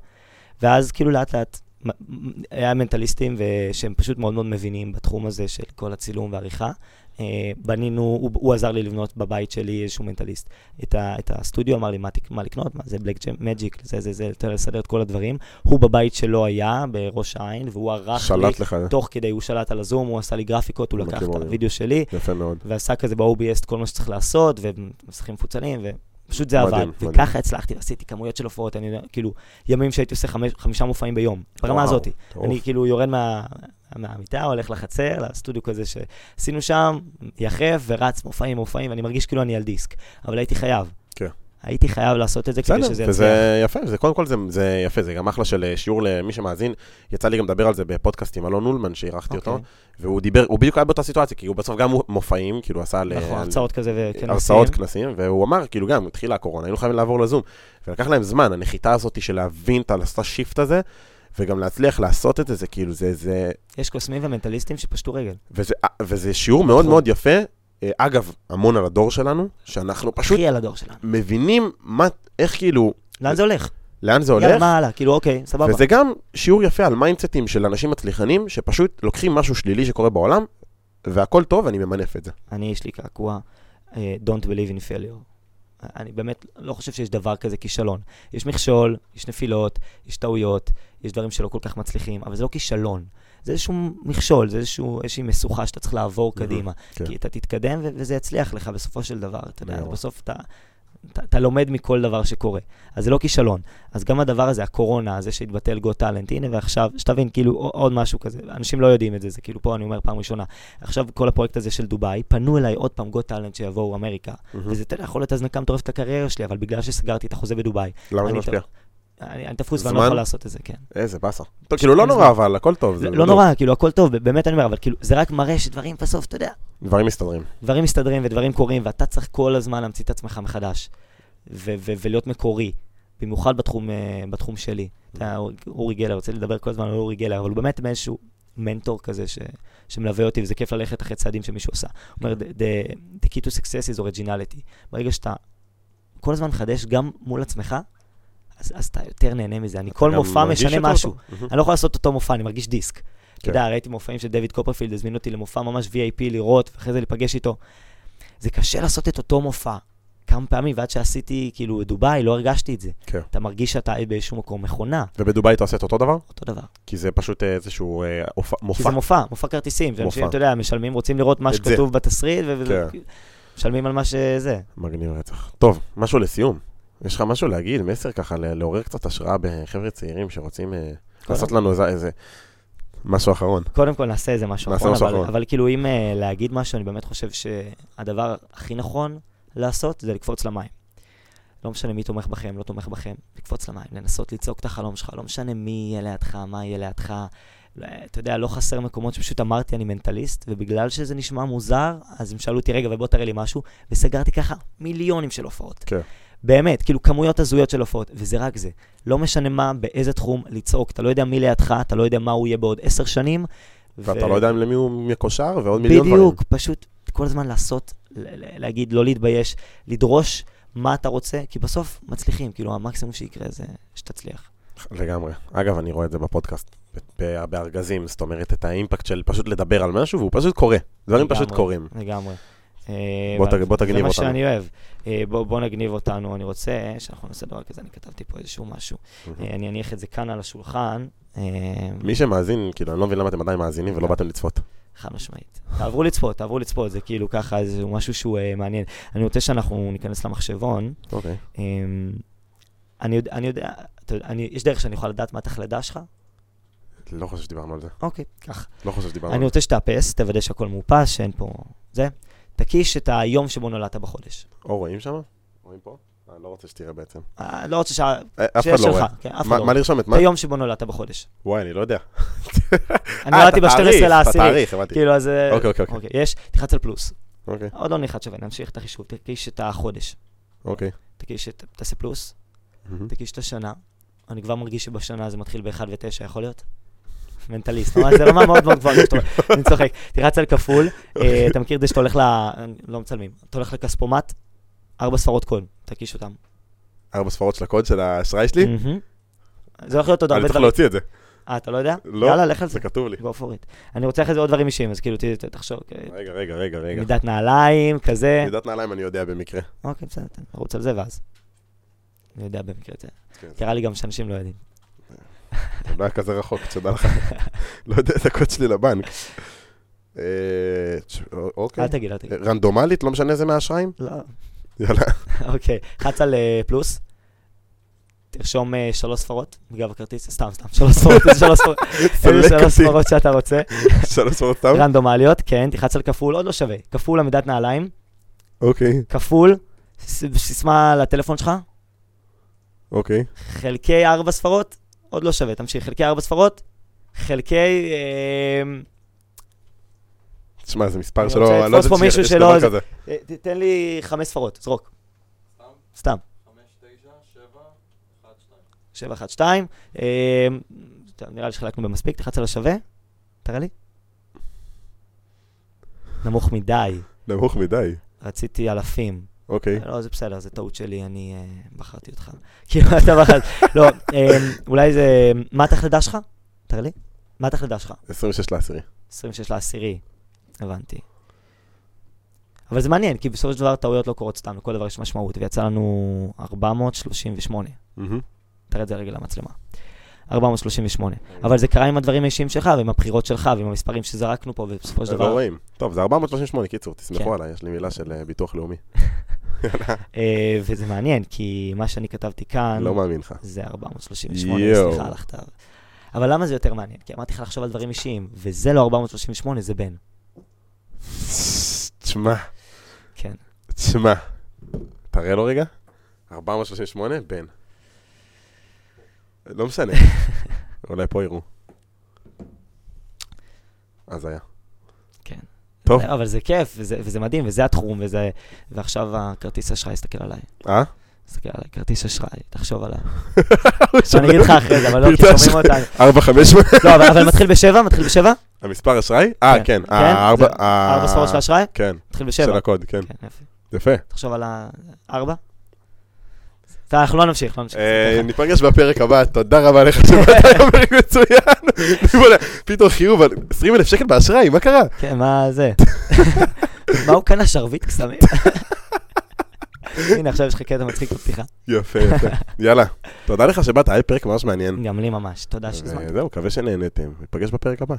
Speaker 1: ואז כאילו לאט לאט, מ- מ- היה מנטליסטים ו- שהם פשוט מאוד מאוד מבינים בתחום הזה של כל הצילום והעריכה. אה, בנינו, הוא, הוא עזר לי לבנות בבית שלי איזשהו מנטליסט. את, ה, את הסטודיו, אמר לי מה, תק- מה לקנות, מה זה בלק מג'יק, זה זה זה, יותר לסדר את כל הדברים. הוא בבית שלו היה, בראש העין, והוא ערך לי,
Speaker 2: שלט לך,
Speaker 1: תוך כדי, הוא שלט על הזום, הוא עשה לי גרפיקות, הוא לקח
Speaker 2: מכיר
Speaker 1: את
Speaker 2: מאוד.
Speaker 1: הוידאו שלי,
Speaker 2: יפה מאוד.
Speaker 1: ועשה כזה ב-OBS את כל מה שצריך לעשות, ומסכים מפוצלים, ופשוט זה
Speaker 2: מדהים,
Speaker 1: עבד.
Speaker 2: מדהים.
Speaker 1: וככה הצלחתי, ועשיתי כמויות של הופעות, אני יודע, כאילו, ימים שהייתי עושה חמש- חמישה מופעים ביום, ברמה
Speaker 2: וואו,
Speaker 1: הזאת.
Speaker 2: טוב.
Speaker 1: אני כאילו יורד מה... מהמיטה, הולך לחצר, לסטודיו כזה שעשינו שם, יחף ורץ, מופעים, מופעים, ואני מרגיש כאילו אני על דיסק, אבל הייתי חייב.
Speaker 2: כן.
Speaker 1: הייתי חייב לעשות את זה כדי שזה
Speaker 2: בסדר,
Speaker 1: יצליח.
Speaker 2: וזה יפה, זה קודם כל זה, זה יפה, זה גם אחלה של אה, שיעור למי שמאזין. יצא לי גם לדבר על זה בפודקאסט עם אלון אולמן, שאירחתי
Speaker 1: אוקיי.
Speaker 2: אותו, והוא דיבר, הוא בדיוק היה באותה סיטואציה, כי הוא בסוף גם מופעים, כאילו עשה על...
Speaker 1: נכון,
Speaker 2: על-
Speaker 1: הרצאות כזה וכנסים.
Speaker 2: הרצאות, כנסים, והוא אמר, כאילו גם, התחילה הקורונה, היינו חייבים לעבור לזום. ולקח להם זמן, הנחיתה הזאת של להבין את לעשות את השיפט הזה, וגם להצליח לעשות את זה, זה כאילו, זה, זה,
Speaker 1: יש קוסמים ומנטליסטים שפשטו רגל.
Speaker 2: וזה, אה, וזה שיעור מאוד
Speaker 1: נכון.
Speaker 2: מאוד יפה. אה, אגב, המון על הדור שלנו, שאנחנו פשוט
Speaker 1: הכי על הדור שלנו.
Speaker 2: מבינים מה, איך כאילו,
Speaker 1: לאן זה הולך?
Speaker 2: לאן זה
Speaker 1: יאללה,
Speaker 2: הולך.
Speaker 1: מה הלאה? כאילו, אוקיי, סבבה.
Speaker 2: וזה גם שיעור יפה על מיינדסטים של אנשים מצליחנים, שפשוט לוקחים משהו שלילי שקורה בעולם, והכל טוב, אני ממנף את זה.
Speaker 1: אני, יש לי קעקוע, אה, Don't believe in failure. אני באמת לא חושב שיש דבר כזה כישלון. יש מכשול, יש נפילות, יש טעויות, יש דברים שלא כל כך מצליחים, אבל זה לא כישלון. זה איזשהו מכשול, זה איזשהו, איזושהי משוכה שאתה צריך לעבור
Speaker 2: מהמם,
Speaker 1: קדימה.
Speaker 2: כן.
Speaker 1: כי אתה תתקדם ו- וזה יצליח לך בסופו של דבר. אתה יודע,
Speaker 2: לגמרי.
Speaker 1: בסוף אתה... אתה, אתה לומד מכל דבר שקורה, אז זה לא כישלון. אז גם הדבר הזה, הקורונה, זה שהתבטל גו טאלנט, הנה ועכשיו, שתבין, כאילו ע- עוד משהו כזה, אנשים לא יודעים את זה, זה כאילו פה אני אומר פעם ראשונה. עכשיו כל הפרויקט הזה של דובאי, פנו אליי עוד פעם גו טאלנט שיבואו אמריקה,
Speaker 2: Mm.
Speaker 1: וזה אתה יודע, יכול להיות הזנקה מטורפת לקריירה שלי, אבל בגלל שסגרתי את החוזה בדובאי,
Speaker 2: למה זה
Speaker 1: אני
Speaker 2: משפיע?
Speaker 1: אני, אני תפוס ואני לא
Speaker 2: זמן?
Speaker 1: יכול לעשות את זה, כן.
Speaker 2: איזה באסה. טוב, כאילו לא
Speaker 1: אין
Speaker 2: נורא,
Speaker 1: זמן.
Speaker 2: אבל הכל טוב. זה
Speaker 1: לא, לא
Speaker 2: בדוק.
Speaker 1: נורא, כאילו הכל טוב, ב- באמת אני אומר, אבל כאילו זה רק מראה שדברים בסוף, אתה יודע,
Speaker 2: דברים מסתדרים.
Speaker 1: דברים מסתדרים ודברים קורים, ואתה צריך כל הזמן להמציא את עצמך מחדש, ו- ו- ולהיות מקורי, במיוחד בתחום, אה, בתחום שלי. אתה יודע, אור- אורי גלר, רוצה לדבר כל הזמן על אורי גלר, אבל הוא באמת מאיזשהו מנטור כזה ש- שמלווה אותי, וזה כיף ללכת אחרי צעדים שמישהו עשה. הוא אומר, "The- the- the key to success is originality. ברגע שאתה כל הזמן מחדש, גם מול עצמך, אז, אז אתה יותר נהנה מזה. אני כל
Speaker 2: גם
Speaker 1: מופע
Speaker 2: מרגיש
Speaker 1: משנה
Speaker 2: יותר
Speaker 1: משהו.
Speaker 2: טוב. מהמם.
Speaker 1: אני לא יכול לעשות אותו מופע, אני מרגיש
Speaker 2: כן.
Speaker 1: דיסק. אתה יודע, ראיתי מופעים של דויד קופרפילד, הזמינו אותי למופע ממש VIP לראות, ואחרי זה להיפגש איתו. זה קשה לעשות את אותו מופע כמה פעמים, ועד שעשיתי, כאילו, דובאי, לא הרגשתי את זה.
Speaker 2: כן.
Speaker 1: אתה מרגיש שאתה באיזשהו מקום מכונה,
Speaker 2: ובדובאי אתה עושה את אותו דבר?
Speaker 1: אותו דבר.
Speaker 2: כי זה פשוט אה, איזשהו אה, הופע-
Speaker 1: כי
Speaker 2: מופע.
Speaker 1: זה מופע, מופע כרטיסים. זה אנשים,
Speaker 2: מופע.
Speaker 1: אתה יודע, משלמים, רוצים לראות מה
Speaker 2: את זה.
Speaker 1: שכתוב בתסריט, ו- וזה-
Speaker 2: כן.
Speaker 1: משלמים על מה שזה.
Speaker 2: מגניב רצח. טוב, משהו לסיום. יש לך משהו להגיד, מסר ככה, ל- לעורר קצת השראה בחבר'ה צעירים שרוצים אה, לעשות לנו איזה- איזה משהו אחרון.
Speaker 1: קודם כל נעשה איזה משהו
Speaker 2: נכון. נעשה
Speaker 1: אחרון,
Speaker 2: משהו נכון.
Speaker 1: אבל,
Speaker 2: אחרון.
Speaker 1: אבל כאילו אם אה, להגיד משהו, אני באמת חושב שהדבר הכי נכון לעשות זה לקפוץ למים. לא משנה מי תומך בכם, לא תומך בכם, לקפוץ למים, לנסות לצעוק את החלום שלך, לא משנה מי יהיה לידך, מה יהיה לידך. לא, אתה יודע, לא חסר מקומות שפשוט אמרתי אני מנטליסט, ובגלל שזה נשמע מוזר, אז הם שאלו אותי, רגע, ובוא תראה לי משהו, וסגרתי ככה מיליונים של הופעות.
Speaker 2: כן.
Speaker 1: באמת, כאילו כמויות הזויות של הופעות, וזה רק זה. לא משנה מה, באיזה תחום, לצעוק. אתה לא יודע מי לידך, אתה לא יודע מה הוא יהיה בעוד עשר שנים.
Speaker 2: ואתה לא יודע אם למי הוא מקושר, ועוד מיליון דברים.
Speaker 1: בדיוק, פשוט כל הזמן לעשות, ל- ל- להגיד, לא להתבייש, לדרוש מה אתה רוצה, כי בסוף מצליחים, כאילו המקסימום שיקרה זה שתצליח.
Speaker 2: לגמרי. אגב, אני רואה את זה בפודקאסט, ב- בארגזים, זאת אומרת, את האימפקט של פשוט לדבר על משהו, והוא פשוט קורה. דברים פשוט
Speaker 1: לגמרי,
Speaker 2: קורים.
Speaker 1: לגמרי. אה,
Speaker 2: בוא
Speaker 1: ואני-
Speaker 2: תג- בוא תגניב
Speaker 1: זה
Speaker 2: אותנו.
Speaker 1: מה שאני אוהב. אה, בוא בוא נגניב אותנו, אני רוצה אה, שאנחנו נעשה דבר כזה, אני כתבתי פה איזשהו משהו. אה, אני אניח את זה כאן על השולחן. אה,
Speaker 2: כן. מי שמאזין, כאילו, אני לא מבין למה אתם עדיין מאזינים
Speaker 1: כן.
Speaker 2: ולא באתם לצפות.
Speaker 1: חד משמעית. תעברו לצפות, תעברו לצפות, זה כאילו ככה, זה משהו שהוא אה, מעניין. אני רוצה שאנחנו ניכנס למחשבון.
Speaker 2: אוקיי.
Speaker 1: אמ, אני יודע, אני יודע, אתה יודע, אני, יש דרך שאני יכול לדעת מה התחלדה שלך?
Speaker 2: לא חושב שדיברנו על זה.
Speaker 1: אוקיי, קח.
Speaker 2: לא חושב שדיברנו על
Speaker 1: אני
Speaker 2: זה.
Speaker 1: רוצה שתאפס, תוודא שהכל מאופס, שאין פה... זה. תקיש את היום שבו נולדת בחודש.
Speaker 2: או רואים שם? רואים פה? אני לא רוצה שתראה בעצם.
Speaker 1: אה, לא רוצה שעה...
Speaker 2: אה, אף
Speaker 1: שיהיה
Speaker 2: אחד לא
Speaker 1: שלך,
Speaker 2: רואה.
Speaker 1: כן, אף אחד
Speaker 2: מה-
Speaker 1: לא
Speaker 2: מה
Speaker 1: רואה.
Speaker 2: לרשום את מה?
Speaker 1: את היום שבו נולדת בחודש.
Speaker 2: וואי, אני לא יודע.
Speaker 1: אני
Speaker 2: אה,
Speaker 1: נולדתי
Speaker 2: את
Speaker 1: ב-12
Speaker 2: התאריך, את
Speaker 1: לעשירי.
Speaker 2: התאריך, הבנתי.
Speaker 1: כאילו, אז... אה,
Speaker 2: אוקיי, אוקיי, אוקיי.
Speaker 1: יש, תלחץ על פלוס.
Speaker 2: אוקיי,
Speaker 1: עוד לא נחת שווה, נמשיך את החישוב. תקיש את החודש,
Speaker 2: אוקיי.
Speaker 1: תקיש את, תעשה פלוס,
Speaker 2: מהמם.
Speaker 1: תקיש את השנה. אני כבר מרגיש שבשנה זה מתחיל ב-1 ו-9, יכול להיות? מנטליסט, ממש, זה רמה מאוד מאוד גבוהה, שאתה אומר, אני צוחק. תרץ על כפול, אה, אתה מכיר את זה שאתה הולך ל... לא מצלמים, אתה הולך לכספומט, ארבע ספרות קוד, תקיש אותם.
Speaker 2: ארבע ספרות של הקוד של האשראי שלי?
Speaker 1: מהמם. זה הולך להיות עוד
Speaker 2: אני
Speaker 1: הרבה
Speaker 2: צריך
Speaker 1: דברים.
Speaker 2: להוציא את זה.
Speaker 1: אה, אתה לא יודע?
Speaker 2: לא,
Speaker 1: יאללה, לך על זה.
Speaker 2: זה כתוב לי.
Speaker 1: go for it. אני רוצה אחרי זה עוד דברים אישיים, אז כאילו, ת- ת- תחשוב, אה,
Speaker 2: רגע, רגע, רגע, רגע.
Speaker 1: מידת נעליים, כזה.
Speaker 2: מידת נעליים אני יודע במקרה.
Speaker 1: אוקיי, בסדר, תן, נרוץ על זה ואז. אני יודע במקרה את זה.
Speaker 2: כן,
Speaker 1: קרה לי גם שאנשים לא יודעים.
Speaker 2: זה לא היה כזה רחוק, תודה לך. לא יודע את הקוד שלי לבנק. אה, תש- אוקיי.
Speaker 1: אל תגיד, אל תגיד.
Speaker 2: רנדומלית, לא משנה איזה מהאשראים?
Speaker 1: לא,
Speaker 2: יאללה.
Speaker 1: אוקיי. חץ על אה, פלוס, תרשום אה, שלוש ספרות בגב הכרטיס, סתם, סתם, שלוש ספרות, איזה שלוש ספרות, איזה
Speaker 2: סלק
Speaker 1: שלוש
Speaker 2: אותי.
Speaker 1: ספרות שאתה רוצה.
Speaker 2: שלוש ספרות סתם?
Speaker 1: רנדומליות, כן, תחץ על כפול, עוד לא שווה. כפול עמידת נעליים,
Speaker 2: אוקיי,
Speaker 1: כפול, ס- סיסמה לטלפון שלך,
Speaker 2: אוקיי.
Speaker 1: חלקי ארבע ספרות, עוד לא שווה, תמשיך, חלקי ארבע ספרות, חלקי... אה,
Speaker 2: תשמע, זה מספר
Speaker 1: אני
Speaker 2: שלא...
Speaker 1: רוצה
Speaker 2: אני לא
Speaker 1: לתפוס
Speaker 2: ידעתי
Speaker 1: פה מישהו
Speaker 2: שיש
Speaker 1: שלא-
Speaker 2: דבר כזה.
Speaker 1: אה, תתן לי חמש ספרות, זרוק. סתם. שבע, אחת, שתיים. אה, טוב, נראה לי שחלקנו במספיק, תחץ על השווה. תראה לי. נמוך מדי,
Speaker 2: נמוך מדי.
Speaker 1: רציתי אלפים.
Speaker 2: אוקיי.
Speaker 1: לא, זה בסדר, זה טעות שלי, אני אה, בחרתי אותך. כאילו, אתה בחרת. לא, אה, אולי זה... מה התחלדה שלך? תראה לי. מה התחלדה שלך?
Speaker 2: 26
Speaker 1: אה,
Speaker 2: לעשירי.
Speaker 1: 26 לעשירי. הבנתי. אבל זה מעניין, כי בסופו של דבר טעויות לא קורות סתם, לכל דבר יש משמעות, ויצא לנו 438.
Speaker 2: מהמם.
Speaker 1: תראה את זה רגע למצלמה. 438.
Speaker 2: אוקיי.
Speaker 1: אבל זה קרה עם הדברים האישיים שלך, ועם הבחירות שלך, ועם המספרים שזרקנו פה, ובסופו של
Speaker 2: אז לא
Speaker 1: דבר...
Speaker 2: רואים. טוב, זה 438, קיצור, תסמכו
Speaker 1: כן.
Speaker 2: עליי, יש לי מילה של אה, ביטוח לאומי.
Speaker 1: אה, וזה מעניין, כי מה שאני כתבתי כאן,
Speaker 2: לא מאמין לך.
Speaker 1: זה 438,
Speaker 2: יואו.
Speaker 1: סליחה על הכתב. אבל למה זה יותר מעניין? כי אמרתי לך לחשוב על דברים אישיים, וזה לא 438, זה בן.
Speaker 2: תשמע,
Speaker 1: כן.
Speaker 2: תשמע. תראה לו רגע. 438, בן. לא משנה. אולי פה יראו. אז היה.
Speaker 1: כן.
Speaker 2: טוב.
Speaker 1: אבל זה כיף, וזה, וזה מדהים, וזה התחום, וזה... ועכשיו הכרטיס אשראי, הסתכל עליי.
Speaker 2: אה?
Speaker 1: תסתכל עליי, כרטיס אשראי, תחשוב עליי. אני אגיד לך אחרי זה, אבל לא, כי שומעים אותנו.
Speaker 2: 458.
Speaker 1: לא, אבל- אבל מתחיל בשבע? מתחיל בשבע?
Speaker 2: המספר אשראי? אה,
Speaker 1: כן.
Speaker 2: כן.
Speaker 1: כן,
Speaker 2: אה,
Speaker 1: זה
Speaker 2: אה,
Speaker 1: ארבע ספרות של אשראי?
Speaker 2: כן,
Speaker 1: מתחיל
Speaker 2: של
Speaker 1: בשבע.
Speaker 2: הקוד, כן.
Speaker 1: כן, יפה.
Speaker 2: יפה.
Speaker 1: תחשוב על ה... ארבע? טוב, אנחנו לא נמשיך, לא נמשיך.
Speaker 2: אה, ניפגש בפרק הבא, תודה רבה לך שבאת לפרק מצוין. בוא'נה, פתאום חיוב על 20 אלף שקל באשראי, מה קרה?
Speaker 1: כן, מה זה? מה הוא קנה שרביט קסמים? הנה, עכשיו יש לך קטע מצחיק בפתיחה.
Speaker 2: יפה, יפה. יאללה, תודה לך שבאת, היה פרק ממש מעניין. אה,
Speaker 1: גם לי ממש, תודה שהזמנת.
Speaker 2: זהו, מקווה שנהנתם, ניפגש בפרק הבא.